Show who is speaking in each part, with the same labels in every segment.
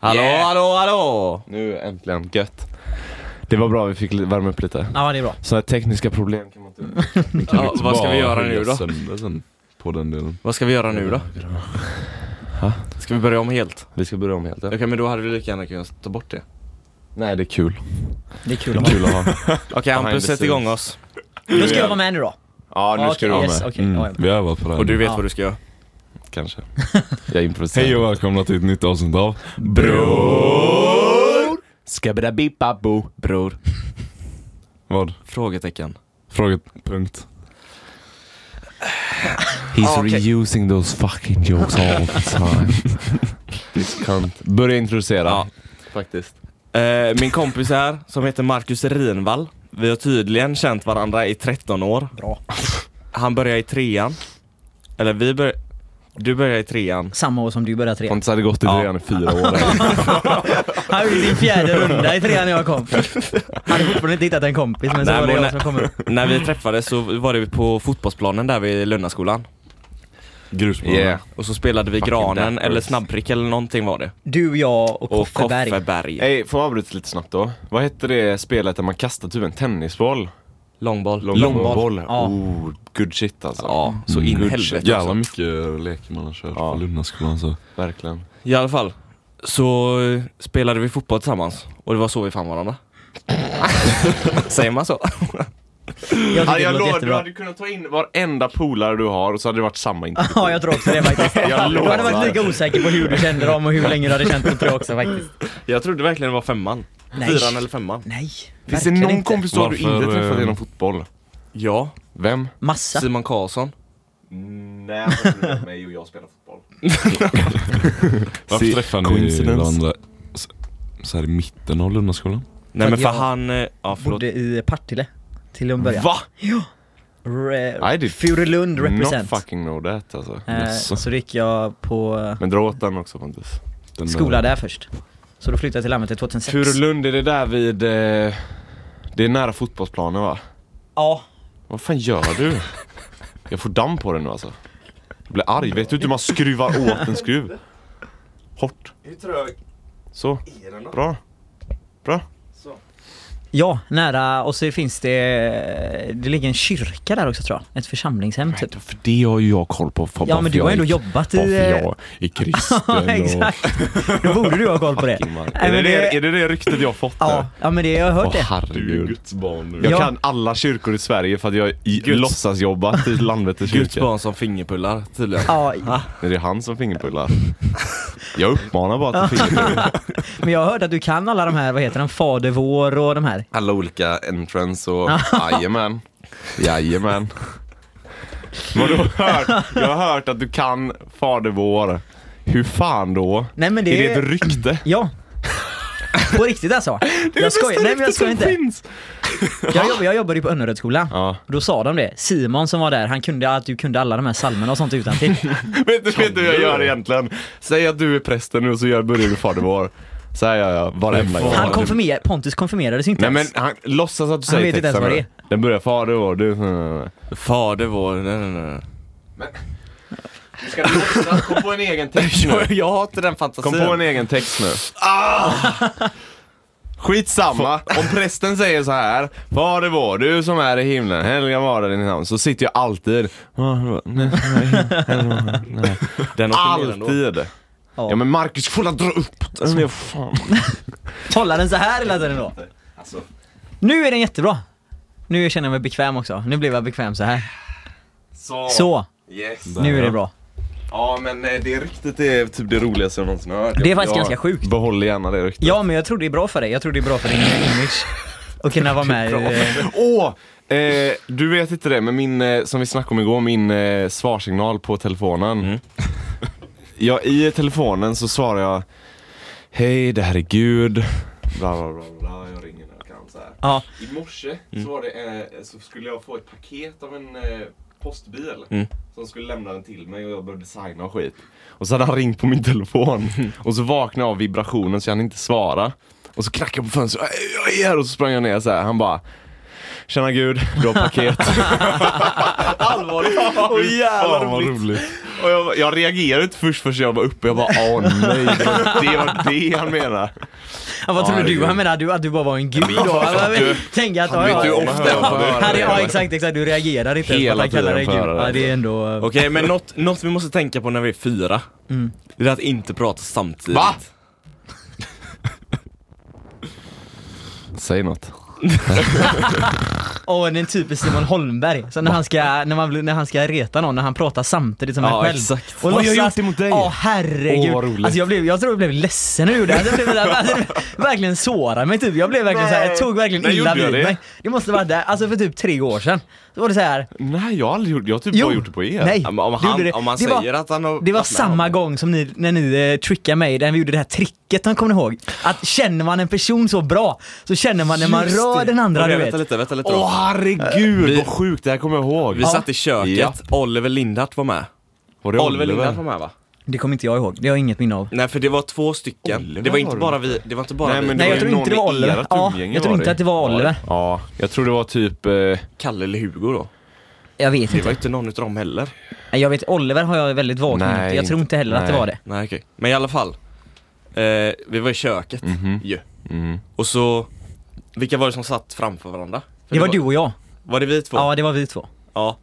Speaker 1: Hallå,
Speaker 2: Yeah.
Speaker 1: hallå, hallå!
Speaker 2: Nu äntligen, gött. Det var bra, vi fick li- värma upp lite.
Speaker 3: Ja, det är bra.
Speaker 2: Sådana tekniska problem kan man inte...
Speaker 4: Kan
Speaker 1: Ja,
Speaker 4: inte
Speaker 1: vad ska vi
Speaker 4: bara
Speaker 1: göra nu
Speaker 4: höja
Speaker 1: då?
Speaker 4: sönder sen På den delen.
Speaker 1: Vad ska vi göra nu då? Ska vi börja om helt?
Speaker 2: Vi ska börja om helt. Ja.
Speaker 1: Okej, men då hade vi lika gärna kunnat ta bort det.
Speaker 2: Nej, det är kul.
Speaker 3: Det är kul.
Speaker 2: Det är kul att ha.
Speaker 1: Okej,
Speaker 2: the
Speaker 1: Hampus, sätt
Speaker 2: scenes.
Speaker 1: igång oss.
Speaker 3: Då ska jag vara med nu då.
Speaker 2: Ja, nu ska
Speaker 3: Okej,
Speaker 2: du vara
Speaker 3: yes,
Speaker 2: med.
Speaker 3: okej, ja, ja.
Speaker 4: Mm. Vi övar på det här
Speaker 1: Och du
Speaker 4: nu.
Speaker 1: vet
Speaker 3: Ja.
Speaker 1: vad du ska göra.
Speaker 2: Kanske. Jag improviserar.
Speaker 4: Hej och välkomna till ett nytt avsnitt av
Speaker 2: Bror! Skabbidabibabo.
Speaker 1: Bror.
Speaker 4: vad?
Speaker 1: Frågetecken.
Speaker 4: Fråget punkt.
Speaker 2: He's
Speaker 1: Ah, okej.
Speaker 2: reusing those fucking jokes all the time. This cunt. Börja introducera.
Speaker 1: Ja.
Speaker 2: faktiskt.
Speaker 1: Eh, min kompis här, som heter Marcus Rinvall. Vi har tydligen känt varandra i 13 år.
Speaker 3: Bra.
Speaker 1: Han började i trean. Eller vi började... Du började i trean.
Speaker 3: Samma år som du började trean.
Speaker 2: Pontus hade gått i
Speaker 1: Ja.
Speaker 2: trean i fyra år.
Speaker 3: Han gjorde sin fjärde runda i trean när jag kom. Han hade fortfarande inte hittat en kompis men så
Speaker 1: Nej,
Speaker 3: var det
Speaker 1: men
Speaker 3: jag som
Speaker 1: nej.
Speaker 3: kom upp.
Speaker 1: När vi träffades så var det på fotbollsplanen där vid Lundaskolan.
Speaker 4: Grusbana.
Speaker 2: Yeah.
Speaker 1: Och så spelade vi
Speaker 2: Fucking
Speaker 1: granen,
Speaker 2: dappers.
Speaker 1: eller snabbprick eller någonting var det.
Speaker 3: Du, jag och
Speaker 1: Och
Speaker 3: Koffe Berg.
Speaker 1: Kofferberg.
Speaker 2: Hej, får jag avbryta lite snabbt då? Vad hette det spelet där man kastar typ en tennisboll?
Speaker 1: Långboll.
Speaker 2: Långboll.
Speaker 3: Ja.
Speaker 2: Oh, good shit alltså.
Speaker 1: Ja, så in i
Speaker 2: Good
Speaker 1: helvete.
Speaker 2: shit.
Speaker 4: Jävla mycket leker man har kört
Speaker 2: Ja.
Speaker 4: på Lundaskolan så.
Speaker 2: Verkligen.
Speaker 1: I alla fall, så eh, spelade vi fotboll tillsammans och det var så vi fann varandra. Säger man så?
Speaker 3: Jag
Speaker 2: Ja,
Speaker 3: tycker
Speaker 2: jag
Speaker 3: det låter
Speaker 2: lovar, du
Speaker 3: jättebra.
Speaker 2: hade kunnat ta in varenda polare du har och så hade det varit samma inte.
Speaker 3: Ja, jag tror också det faktiskt.
Speaker 2: Jag
Speaker 3: Du hade
Speaker 2: lovar.
Speaker 3: varit lika osäker på hur du kände dem och hur länge du hade känt dem tror jag också faktiskt.
Speaker 1: Jag trodde verkligen det var femman.
Speaker 3: Nej.
Speaker 1: Fyran eller femman.
Speaker 3: Nej,
Speaker 2: Finns det
Speaker 3: verkligen
Speaker 2: någon
Speaker 3: inte.
Speaker 2: kompis du har du
Speaker 4: Varför,
Speaker 2: inte träffat
Speaker 4: eh,
Speaker 2: genom fotboll?
Speaker 1: Ja,
Speaker 2: Vem?
Speaker 3: Massa.
Speaker 1: Simon Karlsson.
Speaker 2: Nej, han träffade mig och jag spelar fotboll.
Speaker 4: Varför
Speaker 2: See,
Speaker 4: träffar ni
Speaker 2: coincidence.
Speaker 4: varandra så- så här i mitten av Lundaskolan?
Speaker 1: Nej men för
Speaker 3: jag-
Speaker 1: han, eh, ja förlåt.
Speaker 3: Bodde i Partille till att börja.
Speaker 2: Va? I
Speaker 3: Re-
Speaker 2: did
Speaker 3: Furulund represent.
Speaker 2: Not fucking know that alltså.
Speaker 3: Eh,
Speaker 4: Jaså.
Speaker 3: så då gick jag på eh,
Speaker 2: Men dra åt den också Pontus.
Speaker 4: Den
Speaker 3: skola
Speaker 4: där-
Speaker 3: där först. Så då flyttade jag till Lammhult 2006.
Speaker 2: Furulund, är det där vid... Eh, det är nära fotbollsplanen va?
Speaker 3: Ja.
Speaker 2: Vad fan gör du? Jag får damm på den nu alltså. Jag blir arg. Vet du inte hur man skruvar åt en skruv? Hårt.
Speaker 1: Hur trög
Speaker 2: Så.
Speaker 1: är den då?
Speaker 2: Bra. Bra.
Speaker 3: Ja, nära. Och så finns det... Det ligger en kyrka där också tror jag. Ett församlingshem typ.
Speaker 2: För det har ju jag koll på.
Speaker 3: Ja men du har ju ändå jobbat i... eh,
Speaker 2: är kristen
Speaker 3: Ja exakt. Då borde du ha koll på det.
Speaker 2: Är
Speaker 3: Nej,
Speaker 2: det
Speaker 3: men
Speaker 2: det,
Speaker 3: det-
Speaker 2: är det det ryktet jag fått?
Speaker 3: Ja, ja men det, jag har
Speaker 2: Åh
Speaker 3: hört det.
Speaker 4: Du är
Speaker 2: herregud.
Speaker 4: Guds barn nu.
Speaker 2: Jag
Speaker 3: Ja.
Speaker 2: kan alla kyrkor i Sverige för att jag i- låtsasjobbat i Landvetter kyrka.
Speaker 1: Guds barn som fingerpullar tydligen.
Speaker 3: Ja,
Speaker 2: Men det är han som fingerpullar. Jag uppmanar bara till fingerpullar.
Speaker 3: men jag har hört att du kan alla de här, vad heter den, Fader vår och de här.
Speaker 2: Alla olika entrance och jajamän. Jajamän. Vad du har hört? Jag har hört att du kan Fader vår. Hur fan då?
Speaker 3: Nej men det
Speaker 2: Är det ett rykte?
Speaker 3: Ja. På riktigt alltså. jag skojar, nej men jag skojar inte.
Speaker 2: Finns.
Speaker 3: Jag, jobb, jag jobbade ju på Önnerödsskolan.
Speaker 2: Ja.
Speaker 3: Då sa de det. Simon som var där, han kunde att du kunde alla de här psalmerna och sånt utantill.
Speaker 2: Vet du, vet du hur jag gör egentligen? Säg att du är prästen nu och så gör, börjar du Fader vår. Så här gör jag varenda gång.
Speaker 3: Han konfirmer, Pontus konfirmerades ju inte
Speaker 2: Nej men
Speaker 3: ens.
Speaker 2: han, låtsas att du
Speaker 3: Han
Speaker 2: säger
Speaker 3: vet inte ens
Speaker 2: texten
Speaker 3: vad det
Speaker 2: nu. Den börjar Fader vår, du...
Speaker 1: Fader vår, nej nej nej.
Speaker 2: Du ska låtsas, kom på en egen text nu.
Speaker 1: Jag, jag har inte den fantasin.
Speaker 2: Kom på en egen text nu. Ah! Skitsamma, om prästen säger så här Fader vår, du som är i himlen, helga vare din namn. Så sitter jag alltid
Speaker 1: Den åker ner ändå.
Speaker 2: Alltid!
Speaker 3: Ja.
Speaker 2: Ja men Marcus, kolla dra upp Alltså, den! Det är fan.
Speaker 3: Hålla den så här hela tiden då. Nu är den jättebra. Nu känner jag mig bekväm också. Nu blev jag bekväm så här. Så,
Speaker 2: Yes.
Speaker 3: nu är det bra.
Speaker 2: Ja men eh, det ryktet är typ det roligaste jag någonsin har hört.
Speaker 3: Det är faktiskt
Speaker 2: Jag
Speaker 3: ganska sjukt.
Speaker 2: Behåll gärna det ryktet.
Speaker 3: Ja men jag tror det är bra för dig. Jag tror det är bra för din image. Och kunna vara med i-
Speaker 2: Åh! Eh, du vet inte det, men min, eh, som vi snackade om igår, min eh, svarsignal på telefonen. ja, I telefonen så svarar jag Hej, det här är Gud. Bla, bla, bla, bla. Jag ringer när jag kan. Så här.
Speaker 3: Ja,
Speaker 2: I morse så, var det, eh, så skulle jag få ett paket av en eh, postbil som skulle lämna den till mig och jag började designa och skit. Och så hade han ringt på min telefon och så vaknade jag av vibrationen så jag hann inte svara. Och så knackade jag på fönstret, "Äh, jag är här! Och så sprang jag ner så här. han bara Tjena gud, du har paket.
Speaker 1: Allvarligt.
Speaker 2: Åh jävla
Speaker 4: Fan vad
Speaker 2: roligt.
Speaker 4: roligt.
Speaker 2: Och jag, jag reagerade inte först förrän jag var uppe. Jag bara åh nej, det var- det var det han menade.
Speaker 3: Ja, vad trodde du
Speaker 4: herregud.
Speaker 3: han menade? Du, att du bara var en gud då?
Speaker 2: du-
Speaker 3: Tänk att...
Speaker 4: vet
Speaker 3: ja,
Speaker 4: ju
Speaker 3: ja,
Speaker 4: hur ofta jag får höra
Speaker 3: Harry,
Speaker 4: det.
Speaker 3: ja exakt, exakt. Du reagerar inte ens
Speaker 2: Hela
Speaker 3: på att han kallar
Speaker 2: tiden
Speaker 3: dig
Speaker 2: får
Speaker 3: gud.
Speaker 2: jag höra det.
Speaker 3: Ja, det är ändå...
Speaker 1: Okej, men något, något vi måste tänka på när vi är fyra.
Speaker 3: Mm.
Speaker 1: Det är att inte prata samtidigt.
Speaker 2: Va? Säg något.
Speaker 3: Åh, det är en typisk Simon Holmberg. Så när han ska, när man, blir- när han ska reta någon, när han pratar samtidigt som
Speaker 1: Ja,
Speaker 3: han själv.
Speaker 1: exakt.
Speaker 3: Och
Speaker 2: Oj, jag har
Speaker 3: låtsas-
Speaker 2: gjort det mot dig.
Speaker 3: Åh herregud.
Speaker 2: Åh, vad roligt.
Speaker 3: alltså jag, blev, jag tror jag blev ledsen när du gjorde det. Alltså, jag blev, alltså, verkligen sårad mig typ. Jag blev verkligen såhär, jag tog verkligen
Speaker 2: När
Speaker 3: illa
Speaker 2: gjorde
Speaker 3: vid
Speaker 2: jag det?
Speaker 3: mig. Det måste vara där, alltså för typ tre år sedan. Då var det så här.
Speaker 2: Nej, jag har aldrig gjort Jag har typ
Speaker 3: Jo.
Speaker 2: bara gjort det på er.
Speaker 3: Nej.
Speaker 1: Om, om,
Speaker 3: Du gjorde
Speaker 1: han,
Speaker 3: det.
Speaker 1: om han
Speaker 3: Det var-
Speaker 1: säger att han har
Speaker 3: Det var
Speaker 1: varit med
Speaker 3: samma
Speaker 1: om-
Speaker 3: gång som ni, när ni eh, trickade mig, när vi gjorde det här tricket, han kommer ni ihåg? Att känner man en person så bra, så känner man när man
Speaker 1: Just
Speaker 3: rör
Speaker 1: det.
Speaker 3: den andra
Speaker 1: Okej,
Speaker 3: du vet.
Speaker 1: Vänta lite, vänta lite.
Speaker 2: Åh
Speaker 1: då.
Speaker 2: herregud
Speaker 1: Vi-
Speaker 2: vad sjukt, det här kommer jag ihåg.
Speaker 1: Vi satt i köket,
Speaker 2: Ja.
Speaker 1: Oliver Lindhardt var med.
Speaker 2: Var det
Speaker 1: Oliver Lindhardt var med va?
Speaker 3: Det kommer inte jag ihåg, det har jag inget minne av.
Speaker 1: Nej för det var två stycken,
Speaker 2: Oliver
Speaker 1: det var inte
Speaker 2: var
Speaker 1: bara vi, det var inte bara
Speaker 2: Nej,
Speaker 1: vi.
Speaker 2: men
Speaker 3: Nej
Speaker 2: det
Speaker 3: jag
Speaker 2: var
Speaker 3: tror
Speaker 2: ju
Speaker 3: inte det var
Speaker 2: någon i
Speaker 3: Oliver.
Speaker 2: ert
Speaker 3: Ja,
Speaker 2: umgänge
Speaker 3: jag tror
Speaker 2: var
Speaker 3: inte
Speaker 2: det.
Speaker 3: att det var Oliver.
Speaker 2: Ja, jag tror det var typ... Eh,
Speaker 1: Kalle eller Hugo då.
Speaker 3: Jag vet
Speaker 1: Det
Speaker 3: inte.
Speaker 1: var inte någon utav dem heller.
Speaker 3: Nej, Jag vet, Oliver har jag väldigt vagt
Speaker 2: Nej,
Speaker 3: minne. Jag tror inte heller att det
Speaker 2: nej.
Speaker 3: var det.
Speaker 1: Nej okej. Men i alla fall. Eh, vi var i köket ju.
Speaker 2: mm.
Speaker 1: Och så, vilka var det som satt framför varandra? För
Speaker 3: Det var du och jag.
Speaker 1: Var det vi två?
Speaker 3: Ja, det var vi två.
Speaker 1: Ja.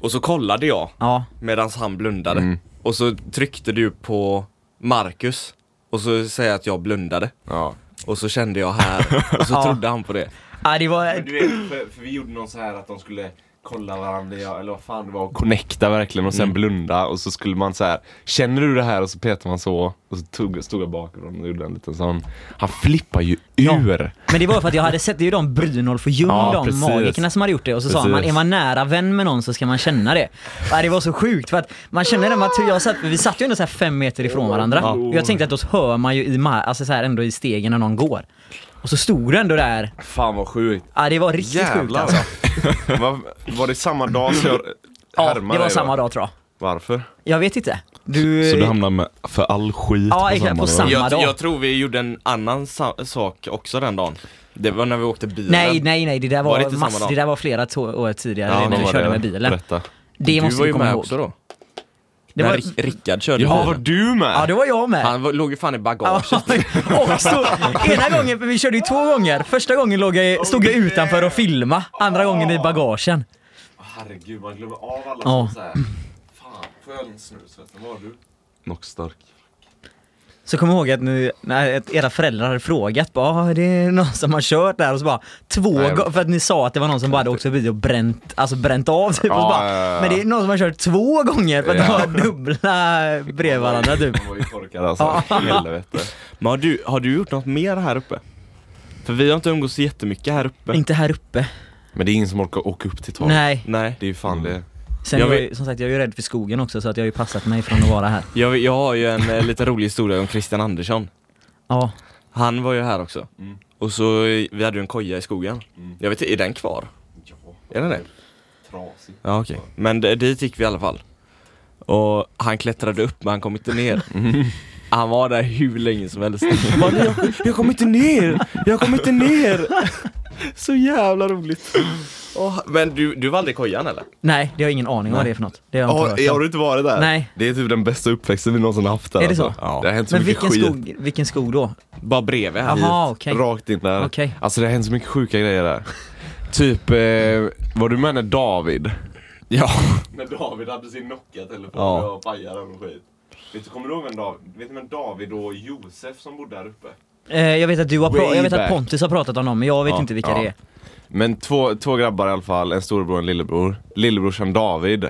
Speaker 1: Och så kollade jag
Speaker 3: Ja.
Speaker 1: medan han blundade.
Speaker 2: Mm.
Speaker 1: Och så tryckte du på Marcus. Och så säger jag att jag blundade.
Speaker 2: Ja.
Speaker 1: Och så kände jag här. Och så
Speaker 3: Ja.
Speaker 1: trodde han på det.
Speaker 3: ja det var...
Speaker 2: Men Du vet, för, för vi gjorde någon så här att de skulle kolla varandra, ja, eller vad fan det var. Mm. och Connecta verkligen och sen blunda och så skulle man så här. känner du det här? Och så petade man så och så tog, stod jag bakom honom och gjorde en liten sån. Han flippar ju ur!
Speaker 3: Men det var för att jag hade sett, det är ju de Brynolf och Ljung,
Speaker 2: Ja,
Speaker 3: de
Speaker 2: precis.
Speaker 3: magikerna som hade gjort det. Och så sa
Speaker 2: Precis.
Speaker 3: man, är man nära vän med någon så ska man känna det. Ja, det var så sjukt för att man känner det, man, jag satt, vi satt ju ändå så här fem meter ifrån varandra. Och jag tänkte att då hör man ju i, ma- alltså så här ändå i stegen när någon går. Och så stod du ändå där.
Speaker 2: Fan vad sjukt!
Speaker 3: Ja, det var riktigt sjukt
Speaker 2: Jävlar!
Speaker 3: alltså.
Speaker 2: var, var det samma dag som jag
Speaker 3: Ja,
Speaker 2: härmade
Speaker 3: det var
Speaker 2: dig,
Speaker 3: samma
Speaker 2: va?
Speaker 3: dag tror jag.
Speaker 2: Varför?
Speaker 3: Jag vet inte. Du...
Speaker 4: Så du hamnar med för all skit
Speaker 3: Ja, exakt, på
Speaker 4: dag?
Speaker 3: samma-
Speaker 1: Jag,
Speaker 3: dag.
Speaker 1: jag tror vi gjorde en annan sa- sak också den dagen. Det var när vi åkte bilen.
Speaker 3: Nej, nej, nej, det där var,
Speaker 1: Var det inte samma
Speaker 3: mass,
Speaker 1: dag?
Speaker 3: det där var flera to- år tidigare
Speaker 2: Ja,
Speaker 3: när
Speaker 2: vad
Speaker 3: vi
Speaker 2: var
Speaker 3: körde
Speaker 2: det?
Speaker 3: med bilen.
Speaker 2: Berätta.
Speaker 3: Det
Speaker 1: du
Speaker 3: måste
Speaker 1: var
Speaker 3: vi
Speaker 1: ju
Speaker 3: komma
Speaker 1: med
Speaker 3: ihåg.
Speaker 1: också då.
Speaker 3: Det
Speaker 1: när
Speaker 3: var-
Speaker 1: Rick- Rickard körde
Speaker 2: Ja,
Speaker 1: bilen.
Speaker 2: var du med?
Speaker 3: Ja, det var jag med.
Speaker 1: Han var, låg ju fan i
Speaker 3: Ja,
Speaker 1: bagaget.
Speaker 3: och så, ena gången, för vi körde ju två gånger. Första gången låg jag, stod jag utanför och filma andra gången i bagagen.
Speaker 2: Herregud, man glömmer av alla
Speaker 3: Ja.
Speaker 2: som såhär... Fan, får jag en snus? Vem var du?
Speaker 4: Nog stark.
Speaker 3: Så kom jag ihåg att, nu, när att era föräldrar hade frågat bara, "Ah, det är någon som har kört där och så bara två
Speaker 2: Nej,
Speaker 3: gånger, för att ni sa att det var någon som bara hade åkt förbi och bränt, alltså bränt av typ. och så
Speaker 2: Ja,
Speaker 3: bara,
Speaker 2: ja, ja.
Speaker 3: Men det är någon som har kört två gånger för att de
Speaker 2: Ja.
Speaker 3: har dubbla bredvid varandra typ.
Speaker 2: Han var ju korkad alltså. Helvete.
Speaker 1: Men har du, har du gjort något mer här uppe? För vi har inte umgåtts så jättemycket här uppe.
Speaker 3: Inte här uppe.
Speaker 2: Men det är ingen som orkar åka upp till taket.
Speaker 3: Nej.
Speaker 1: Nej.
Speaker 2: Det är ju fan det.
Speaker 3: Sen
Speaker 1: Jag
Speaker 3: jag
Speaker 1: vet-
Speaker 3: är, jag ju- som sagt, jag är ju rädd för skogen också så att jag har ju passat mig från att vara här.
Speaker 1: Jag, jag har ju en eh, lite rolig historia om Christian Andersson.
Speaker 3: Ja.
Speaker 1: Han var ju här också.
Speaker 2: Mm.
Speaker 1: Och så, eh, vi hade ju en koja i skogen.
Speaker 2: Mm.
Speaker 1: Jag vet inte, är den kvar?
Speaker 2: Ja,
Speaker 1: Är den det?
Speaker 2: trasigt.
Speaker 1: Ja okej. Men d- dit gick vi i alla fall. Och han klättrade upp men han kom inte ner. Han var där hur länge som helst. Han Bara, Mm. jag, jag kom inte ner! Jag kom inte ner! Så jävla roligt. Åh, men du, du var aldrig i kojan eller?
Speaker 3: Nej, det har jag ingen aning om vad det är för något. Det har jag inte hört om.
Speaker 2: har du inte varit där?
Speaker 3: Nej.
Speaker 2: Det är typ den bästa uppväxten vi någonsin haft där
Speaker 3: Är det så?
Speaker 2: Alltså. Det har hänt så
Speaker 3: Men
Speaker 2: mycket
Speaker 3: vilken
Speaker 2: skit.
Speaker 3: skog, vilken skog då?
Speaker 1: Bara bredvid här.
Speaker 3: Jaha, okej.
Speaker 2: Rakt in där.
Speaker 3: Okej.
Speaker 2: Alltså det har hänt så mycket sjuka grejer där. Typ, eh, var du med när David?
Speaker 1: Ja.
Speaker 5: När David hade sin Nokia-telefon
Speaker 1: Ja.
Speaker 5: och pajade den och skit. Vet du, kommer du ihåg vem David, vet du vem David och Josef som bodde där uppe?
Speaker 3: Eh, jag vet att du har pra-
Speaker 2: Way
Speaker 3: jag vet att
Speaker 2: back.
Speaker 3: Pontus har pratat om dem, men jag vet
Speaker 2: Ja,
Speaker 3: inte vilka
Speaker 2: ja.
Speaker 3: det är.
Speaker 2: Men två, två grabbar i alla fall, en storebror och en lillebror. Lillebrorsan David.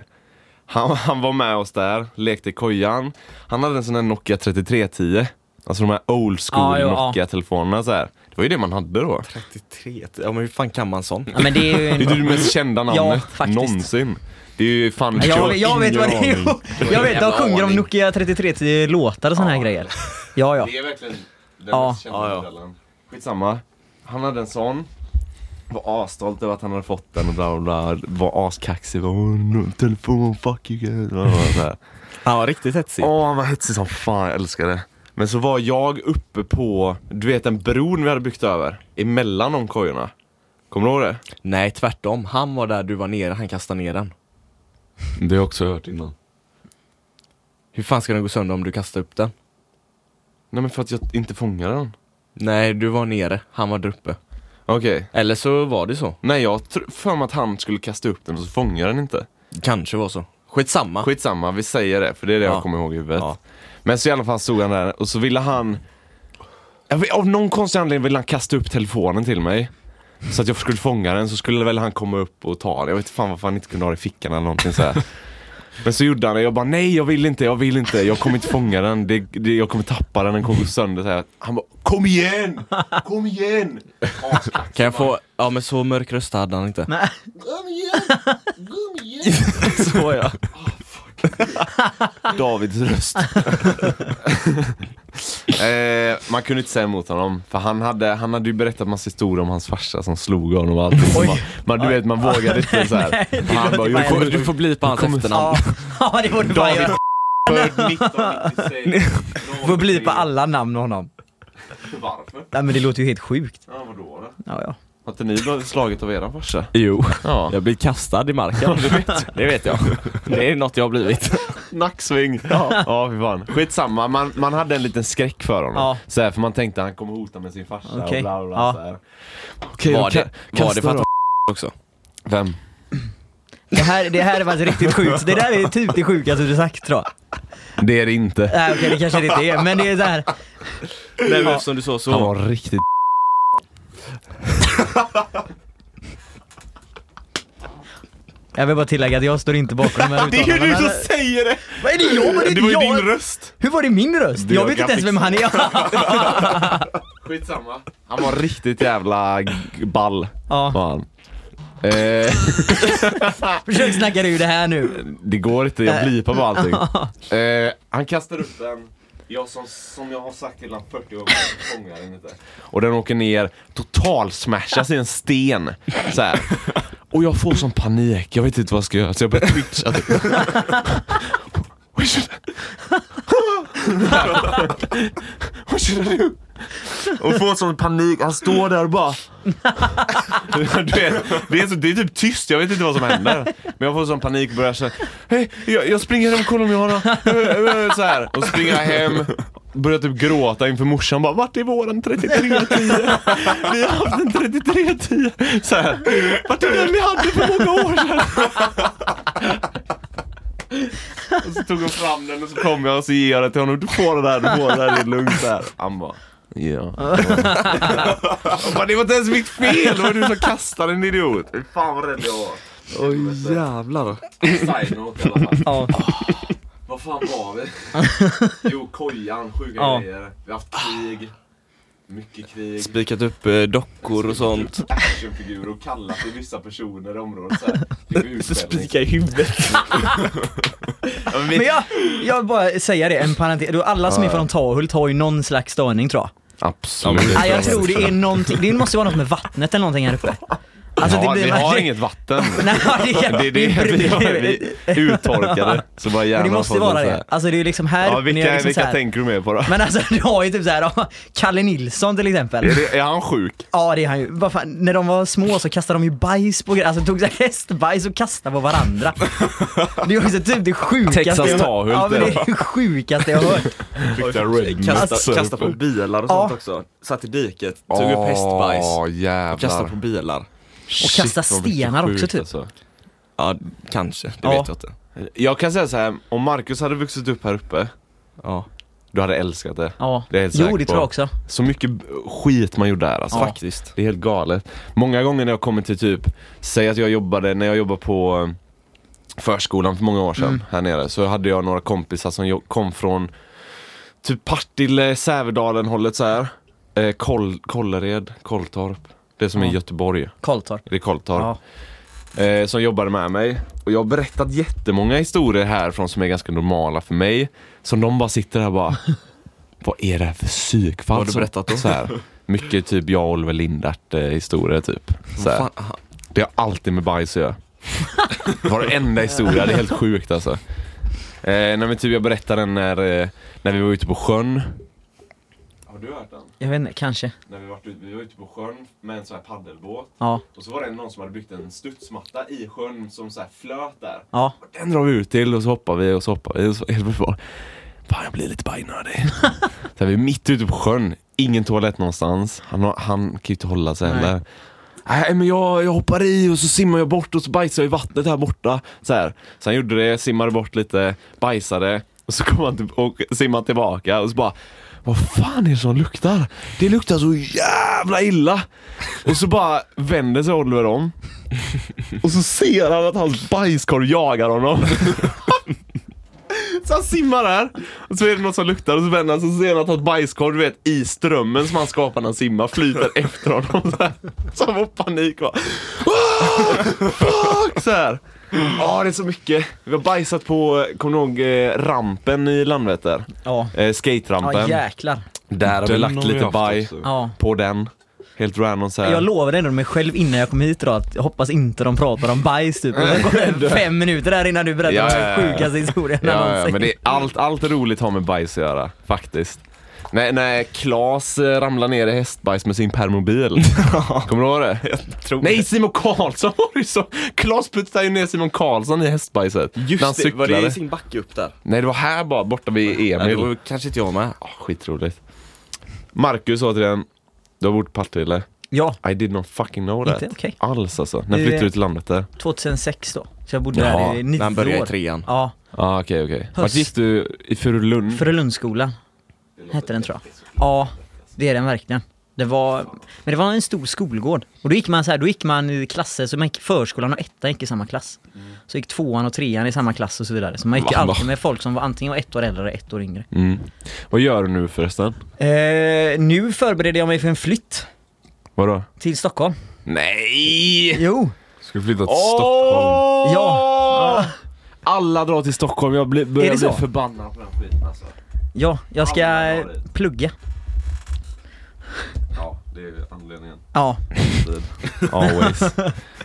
Speaker 2: Han, han var med oss där, lekte i kojan. Han hade en sån här Nokia 3310. Alltså de här old
Speaker 3: Ja,
Speaker 2: school
Speaker 3: jo, ja.
Speaker 2: Nokia-telefonerna så här. Det var ju det man hade då.
Speaker 1: 33, ja men hur fan kan man sån?
Speaker 3: Ja, men det är
Speaker 2: Det
Speaker 3: ju
Speaker 2: är
Speaker 3: en...
Speaker 2: ju det mest kända namnet
Speaker 3: faktiskt.
Speaker 2: någonsin. Det är ju fan...
Speaker 3: Jag, jag vet vad det är.
Speaker 2: Ingen aning.
Speaker 3: Jag vet, de sjunger om Nokia 3310 låtar och såna här grejer. Ja, ja.
Speaker 5: Det är verkligen den
Speaker 3: Ja.
Speaker 5: mest kända
Speaker 1: Ja, ja.
Speaker 5: modellen.
Speaker 2: Skitsamma. Han hade en sån. Var asstolt över att han hade fått den och bla bla bla. Var askaxig. Bara, "Åh, no, Telefon, fuck you guys. Bla, bla, bla, så här.
Speaker 1: Han var riktigt
Speaker 3: Typ.
Speaker 1: hetsig.
Speaker 2: Åh, han var hetsig som fan, jag älskar det. Men så var jag uppe på, du vet den bron vi hade byggt över, emellan de kojorna. Kommer du ihåg det?
Speaker 1: Nej tvärtom, han var där du var nere, han kastade ner den.
Speaker 4: Det har jag också hört innan.
Speaker 1: Hur fan ska den gå sönder om du kastar upp den?
Speaker 2: Nej men för att jag inte fångade den.
Speaker 1: Nej, du var nere, han var där uppe.
Speaker 2: Okej.
Speaker 1: Eller så var det så.
Speaker 2: Nej jag tr- för mig att han skulle kasta upp den och så fångade den inte.
Speaker 1: Kanske var så. Skitsamma.
Speaker 2: Skitsamma, vi säger det för det är det
Speaker 1: Ja.
Speaker 2: jag kommer ihåg i huvudet.
Speaker 1: Ja.
Speaker 2: Men så i alla fall stod han där och så ville han jag vet, Av någon konstig anledning ville han kasta upp telefonen till mig. Så att jag skulle fånga den så skulle väl han komma upp och ta den. Jag vet inte fan varför han inte kunde ha det i fickan eller någonting så här. Men så gjorde han det, jag bara nej jag vill inte, jag vill inte, jag kommer inte fånga den, det, det, jag kommer tappa den, den kommer gå sönder så här. Han bara kom igen! Kom igen!
Speaker 1: Kan jag få, ja men så mörk röst hade han inte.
Speaker 3: Nej.
Speaker 1: Så ja.
Speaker 2: Davids röst. eh, man kunde inte säga emot honom, för han hade, han hade ju berättat massa historier om hans farsa som slog honom och allt. Så man, man, du vet, man vågade inte så här. han bara,
Speaker 1: Du
Speaker 2: jag
Speaker 1: får,
Speaker 2: kommer
Speaker 1: du får bli på hans
Speaker 2: kommer-
Speaker 1: efternamn.
Speaker 3: Ja det borde du fan
Speaker 2: David
Speaker 3: göra.
Speaker 2: född 19...
Speaker 3: Får bli på alla namn och honom.
Speaker 5: Varför?
Speaker 3: Nej men det låter ju helt sjukt.
Speaker 5: Ja, vadå då?
Speaker 3: Ja, ja.
Speaker 2: Har inte ni blivit slaget av eran farsa?
Speaker 1: Jo,
Speaker 2: Ja.
Speaker 1: jag blir kastad i marken. Det vet jag. Det är något jag har blivit.
Speaker 2: Nacksving. Ja, ja fy fan. Skitsamma, man, man hade en liten skräck för honom.
Speaker 3: Ja.
Speaker 2: Så här, för man tänkte han kommer hota med sin farsa
Speaker 3: Okej.
Speaker 2: och bla bla bla.
Speaker 3: Ja.
Speaker 2: Så här. Okej,
Speaker 1: Var
Speaker 2: då ka-
Speaker 1: det, var
Speaker 2: kasta
Speaker 1: det för
Speaker 2: då.
Speaker 1: att också?
Speaker 2: Vem?
Speaker 3: Det här, det här var riktigt sjukt. Det där är typ det sjukaste du sagt tror jag.
Speaker 2: Det är det inte.
Speaker 3: Nej okej det kanske det inte är men det är såhär.
Speaker 1: Nej men eftersom du sa
Speaker 2: Han
Speaker 1: så.
Speaker 2: var riktigt
Speaker 3: Jag vill bara tillägga att jag står inte bakom de här
Speaker 2: Det är ju du
Speaker 3: uttalandena,
Speaker 2: som
Speaker 3: men-
Speaker 2: säger det!
Speaker 3: Vad är det jag? Var det,
Speaker 2: Det var ju
Speaker 3: jag?
Speaker 2: din röst!
Speaker 3: Hur var det min röst?
Speaker 2: Det
Speaker 3: Jag
Speaker 2: var
Speaker 3: vet inte ens
Speaker 2: grafik.
Speaker 3: vem han är.
Speaker 5: Skitsamma.
Speaker 2: Han var riktigt jävla g- ball
Speaker 3: Ja,
Speaker 2: var han. Eh,
Speaker 3: försök snacka dig ur det här nu.
Speaker 2: det går inte, jag blipar på allting. Eh, han kastar upp
Speaker 5: Den, jag som, som jag har sagt till honom 40 gånger, fångar den inte.
Speaker 2: och den åker ner, totalsmashas i en sten. Så här. Och jag får sån panik, jag vet inte vad jag ska göra så jag börjar twitcha typ. What should I- What should I do? Och får sån panik, han står där och bara du vet, det, är så, det är typ tyst, jag vet inte vad som händer. Men jag får sån panik och börjar säga Hej, jag, jag springer hem och kollar om jag har några-" så här. Och så springer jag hem, börjar typ gråta inför morsan bara Vart är våran 3310? Vi har haft en 3310! Så här. Vart är den vi hade för många år sedan? Och så tog hon fram den och så kom jag och så ger jag den till honom. Du får den där, du får den där, det är lugnt där. Han bara Ja. Jag bara, det var inte ens mitt fel! Det var du som kastade en idiot.
Speaker 5: Fy Fan vad rädd jag var.
Speaker 2: Oj jävlar.
Speaker 5: Side-note i alla fall.
Speaker 3: Ja.
Speaker 5: Vad fan var vi? Jo, kojan, sjuka
Speaker 3: Ja.
Speaker 5: grejer. Vi har haft krig. Mycket krig.
Speaker 1: Spikat upp eh, dockor och sånt.
Speaker 5: Actionfigurer och kallat till vissa personer i området. Så här. Fick vi utskällning.
Speaker 1: i huvudet.
Speaker 3: Men jag, jag vill bara säga det, en parentes. Då Alla som är från Tahult har ju någon slags störning tror jag.
Speaker 2: Absolut.
Speaker 3: Ja, jag tror det är någonting, det måste vara något med vattnet eller någonting här uppe. Alltså,
Speaker 2: Ja,
Speaker 3: det blir-
Speaker 2: vi har inget vatten.
Speaker 3: Nej, det, är-
Speaker 2: Det är det
Speaker 3: är bru-
Speaker 2: vi har. Vi är uttorkade. Så bara
Speaker 3: Men
Speaker 2: gärna
Speaker 3: det måste vara det. Alltså det är liksom här
Speaker 2: Ja,
Speaker 3: uppe, ni är
Speaker 2: vilka,
Speaker 3: liksom så
Speaker 2: vilka
Speaker 3: här.
Speaker 2: tänker du med på då?
Speaker 3: Men alltså du har ju typ såhär, ja, Kalle Nilsson till exempel.
Speaker 2: Är, det, är han sjuk?
Speaker 3: Ja det är han ju. Vad fan, när de var små så kastade de ju bajs på grejer, alltså tog så här hästbajs och kastade på varandra. Det är också typ det sjukaste
Speaker 2: Texas
Speaker 3: jag-
Speaker 2: Tahult,
Speaker 3: Ja men det
Speaker 2: ja.
Speaker 3: är det sjukaste jag har hört.
Speaker 1: Kasta, kasta på bilar och
Speaker 3: Ja.
Speaker 1: sånt också. Satt i diket, tog upp hästbajs.
Speaker 2: Åh jävlar.
Speaker 1: Kasta på bilar.
Speaker 3: Och kasta
Speaker 2: Shit, vad mycket
Speaker 3: stenar
Speaker 2: sjukt,
Speaker 3: också, typ.
Speaker 2: alltså.
Speaker 1: Ja, kanske. Det
Speaker 3: Ja.
Speaker 1: vet jag inte.
Speaker 2: Jag kan säga så här, om Marcus hade vuxit upp här uppe,
Speaker 1: Ja.
Speaker 2: du hade älskat det.
Speaker 3: Ja.
Speaker 2: Det är jag helt
Speaker 3: jo
Speaker 2: säker
Speaker 3: det
Speaker 2: på.
Speaker 3: tror jag också.
Speaker 2: Så mycket skit man gjorde där alltså.
Speaker 1: Faktiskt.
Speaker 2: Det är helt galet. Många gånger när jag kommer till typ, säg att jag jobbade, när jag jobbade på eh, förskolan för många år sedan här nere, så hade jag några kompisar som jo- kom från typ Partille, Sävedalen hållet så här. Eh, Koll, Kållered, Kolltorp. Det som är
Speaker 3: Ja.
Speaker 2: Göteborg,
Speaker 3: Karltorp.
Speaker 2: det är Kolltorp
Speaker 3: Ja.
Speaker 2: eh, som jobbade med mig. Och jag har berättat jättemånga historier härifrån som är ganska normala för mig. Som de bara sitter där och bara, vad är det här för psykfall?
Speaker 1: Vad har du
Speaker 2: som-"
Speaker 1: berättat då?
Speaker 2: Så här, mycket typ jag och Oliver Lindart eh, historier typ. Så här.
Speaker 1: Fan, aha.
Speaker 2: Det har alltid med bajs att göra. Varenda historia, det är helt sjukt alltså. Eh, nej men typ jag berättade den när, eh, när vi var ute på sjön.
Speaker 5: Ja, Har du hört den?
Speaker 3: Jag vet inte, kanske.
Speaker 5: När vi, var ute, vi var ute på sjön med en sån här paddelbåt.
Speaker 3: Ja.
Speaker 5: Och så var det någon som hade byggt en studsmatta i sjön som så här flöt där.
Speaker 3: Ja.
Speaker 2: Den drar vi ut till och så hoppar vi och så hoppar vi och så helt plötsligt bara Fan jag blir lite bajnödig. så här, vi är mitt ute på sjön, ingen toalett någonstans. Han, har, han kan ju inte hålla sig
Speaker 3: Nej.
Speaker 2: heller. Nej men jag, jag hoppar i och så simmar jag bort och så bajsar jag i vattnet här borta. Så här. Så han gjorde det, simmade bort lite, bajsade och så kom han till, och simmade tillbaka och så bara vad fan är det som luktar? Det luktar så jävla illa! Och så bara vänder sig Oliver om och så ser han att hans bajskorv jagar honom. Så han simmar där, och så är det något som luktar och så vänder han sig och så ser han att hans bajskorv, du vet, i strömmen som han skapar när han simmar flyter efter honom så här. Så han får panik va. Ah, Fuck! Så här. Ja, det är så mycket. Vi har bajsat på, kommer du ihåg, eh, rampen i Landvetter?
Speaker 3: Ja.
Speaker 2: Eh,
Speaker 3: Ja
Speaker 2: skaterampen.
Speaker 3: jäklar.
Speaker 2: Där har vi
Speaker 4: Den
Speaker 2: lagt
Speaker 4: har vi
Speaker 2: lite
Speaker 4: haft
Speaker 2: baj
Speaker 4: också.
Speaker 3: Ja.
Speaker 2: på den. Helt random så här.
Speaker 3: Jag lovade ändå mig själv innan jag kom hit idag att jag hoppas inte de pratar om bajs typ. Och sen går det fem minuter där innan du berättar
Speaker 2: Ja, ja, ja,
Speaker 3: den
Speaker 2: ja.
Speaker 3: sjukaste historien
Speaker 2: Ja, ja
Speaker 3: någonsin.
Speaker 2: men det är allt, allt roligt har med bajs att göra, faktiskt. När, när Klas eh, ramlar ner i hästbajs med sin permobil. Kommer du ihåg det? Nej, Simon Karlsson var det ju så! Klas puttade ju ner Simon Karlsson i hästbajset. när han
Speaker 1: Just det, var
Speaker 2: cyklade.
Speaker 1: det i sin backe upp där?
Speaker 2: Nej, det var här bara, borta vid
Speaker 1: Ja,
Speaker 2: Emil.
Speaker 1: då kanske inte jag med.
Speaker 2: Ah, skitroligt. Marcus sa till den, du har bott i Partille.
Speaker 3: Ja,
Speaker 2: I did not fucking know
Speaker 3: Inte
Speaker 2: that.
Speaker 3: okej.
Speaker 2: Alls alltså. När
Speaker 3: Det-
Speaker 2: flyttade du till landet där?
Speaker 3: 2006 då. Så jag bodde
Speaker 2: Jaha,
Speaker 3: där i
Speaker 1: När
Speaker 3: nio
Speaker 1: han började i
Speaker 3: år.
Speaker 1: trean.
Speaker 3: Ja,
Speaker 2: Ah, okej, okej. Vart
Speaker 3: Höst.
Speaker 2: gick du? I Furulund?
Speaker 3: Frölundsskolan hette den tror jag. Ja, det är den verkligen. Det var, men det var en stor skolgård. Och då gick man så här, då gick man i klasser, så man gick förskolan och ettan gick i samma klass. Så gick tvåan och trean i samma klass och så vidare. Så man gick
Speaker 2: Va, va?
Speaker 3: alltid med folk som var antingen var ett år äldre eller ett år yngre.
Speaker 2: Mm. Vad gör du nu förresten?
Speaker 3: Eh, nu förbereder jag mig för en flytt
Speaker 2: Vadå?
Speaker 3: till Stockholm.
Speaker 2: Nej!
Speaker 3: Jo,
Speaker 4: Ska vi flytta till Stockholm?
Speaker 3: Ja.
Speaker 2: Alla drar till Stockholm, jag blir, börjar
Speaker 3: Är det
Speaker 2: bli
Speaker 3: så?
Speaker 2: förbannad.
Speaker 5: På den skiten alltså.
Speaker 3: ja, jag ska
Speaker 5: Ja, men vad var det?
Speaker 3: plugga.
Speaker 5: Ja, det är anledningen.
Speaker 3: Ja,
Speaker 2: Always.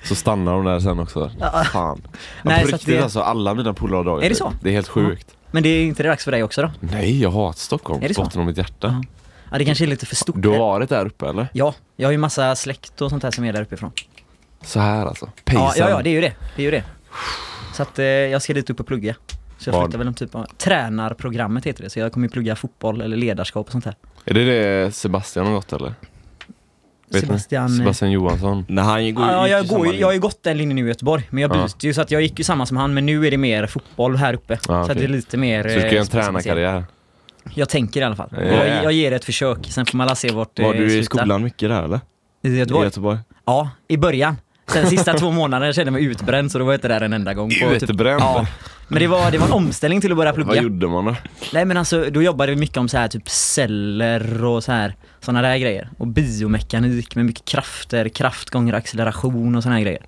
Speaker 2: Så stannar de där sen också. Fan. Ja,
Speaker 3: Nej,
Speaker 2: på
Speaker 3: så att
Speaker 2: riktigt
Speaker 3: det-
Speaker 2: alltså, alla mina polare har dragit
Speaker 3: Är det
Speaker 2: dit.
Speaker 3: så?
Speaker 2: Det är helt sjukt.
Speaker 3: men det är inte det dags för dig också då?
Speaker 2: Nej, jag hatar Stockholm.
Speaker 3: Är det så?
Speaker 2: Botten av mitt hjärta.
Speaker 3: Ja. Ja, det kanske är lite för stort.
Speaker 2: Du har varit där uppe eller?
Speaker 3: Ja, jag har ju massa släkt och sånt här som är där uppifrån.
Speaker 2: Så här alltså. Pejsen.
Speaker 3: Ja, ja, ja, det är ju det. Det är ju det. Så att eh, jag ska dit upp och plugga. Så jag
Speaker 2: Vad?
Speaker 3: flyttar väl en typ av tränarprogrammet heter det. Så jag kommer ju plugga fotboll eller ledarskap och sånt här.
Speaker 2: Är det det Sebastian har gått eller? Vet ni?
Speaker 3: Sebastian, eh,
Speaker 2: Sebastian Johansson.
Speaker 1: När han går
Speaker 3: Ja,
Speaker 1: gick
Speaker 3: jag,
Speaker 1: i
Speaker 3: går,
Speaker 1: samma
Speaker 3: ju- jag har ju gått den linjen nu i Göteborg, men jag
Speaker 2: Ja. Ah,
Speaker 3: byter ju så att jag gick ju samma som han, men nu är det mer fotboll här uppe. Så
Speaker 2: okej.
Speaker 3: att det är lite mer...
Speaker 2: Så du ska
Speaker 3: eh,
Speaker 2: göra en
Speaker 3: speciellt.
Speaker 2: tränarkarriär?
Speaker 3: Jag tänker i alla fall.
Speaker 2: Ja.
Speaker 3: Jag, jag ger det ett försök, sen får man la se vart det
Speaker 1: Var du i
Speaker 3: slutar.
Speaker 1: skolan mycket där eller?
Speaker 3: I
Speaker 1: I
Speaker 3: Göteborg?
Speaker 1: Göteborg?
Speaker 3: Ja, i början. Sen sista två månaderna kände jag mig utbränd så då var jag inte där en enda gång. på
Speaker 2: Utbränd?
Speaker 3: ja. Men det var, det var en omställning till att börja plugga.
Speaker 2: Vad gjorde man då?
Speaker 3: Nej men alltså, då jobbade vi mycket om så här typ celler och så här sådana där grejer. Och biomekanik med mycket krafter, kraft gånger acceleration och sådana här grejer.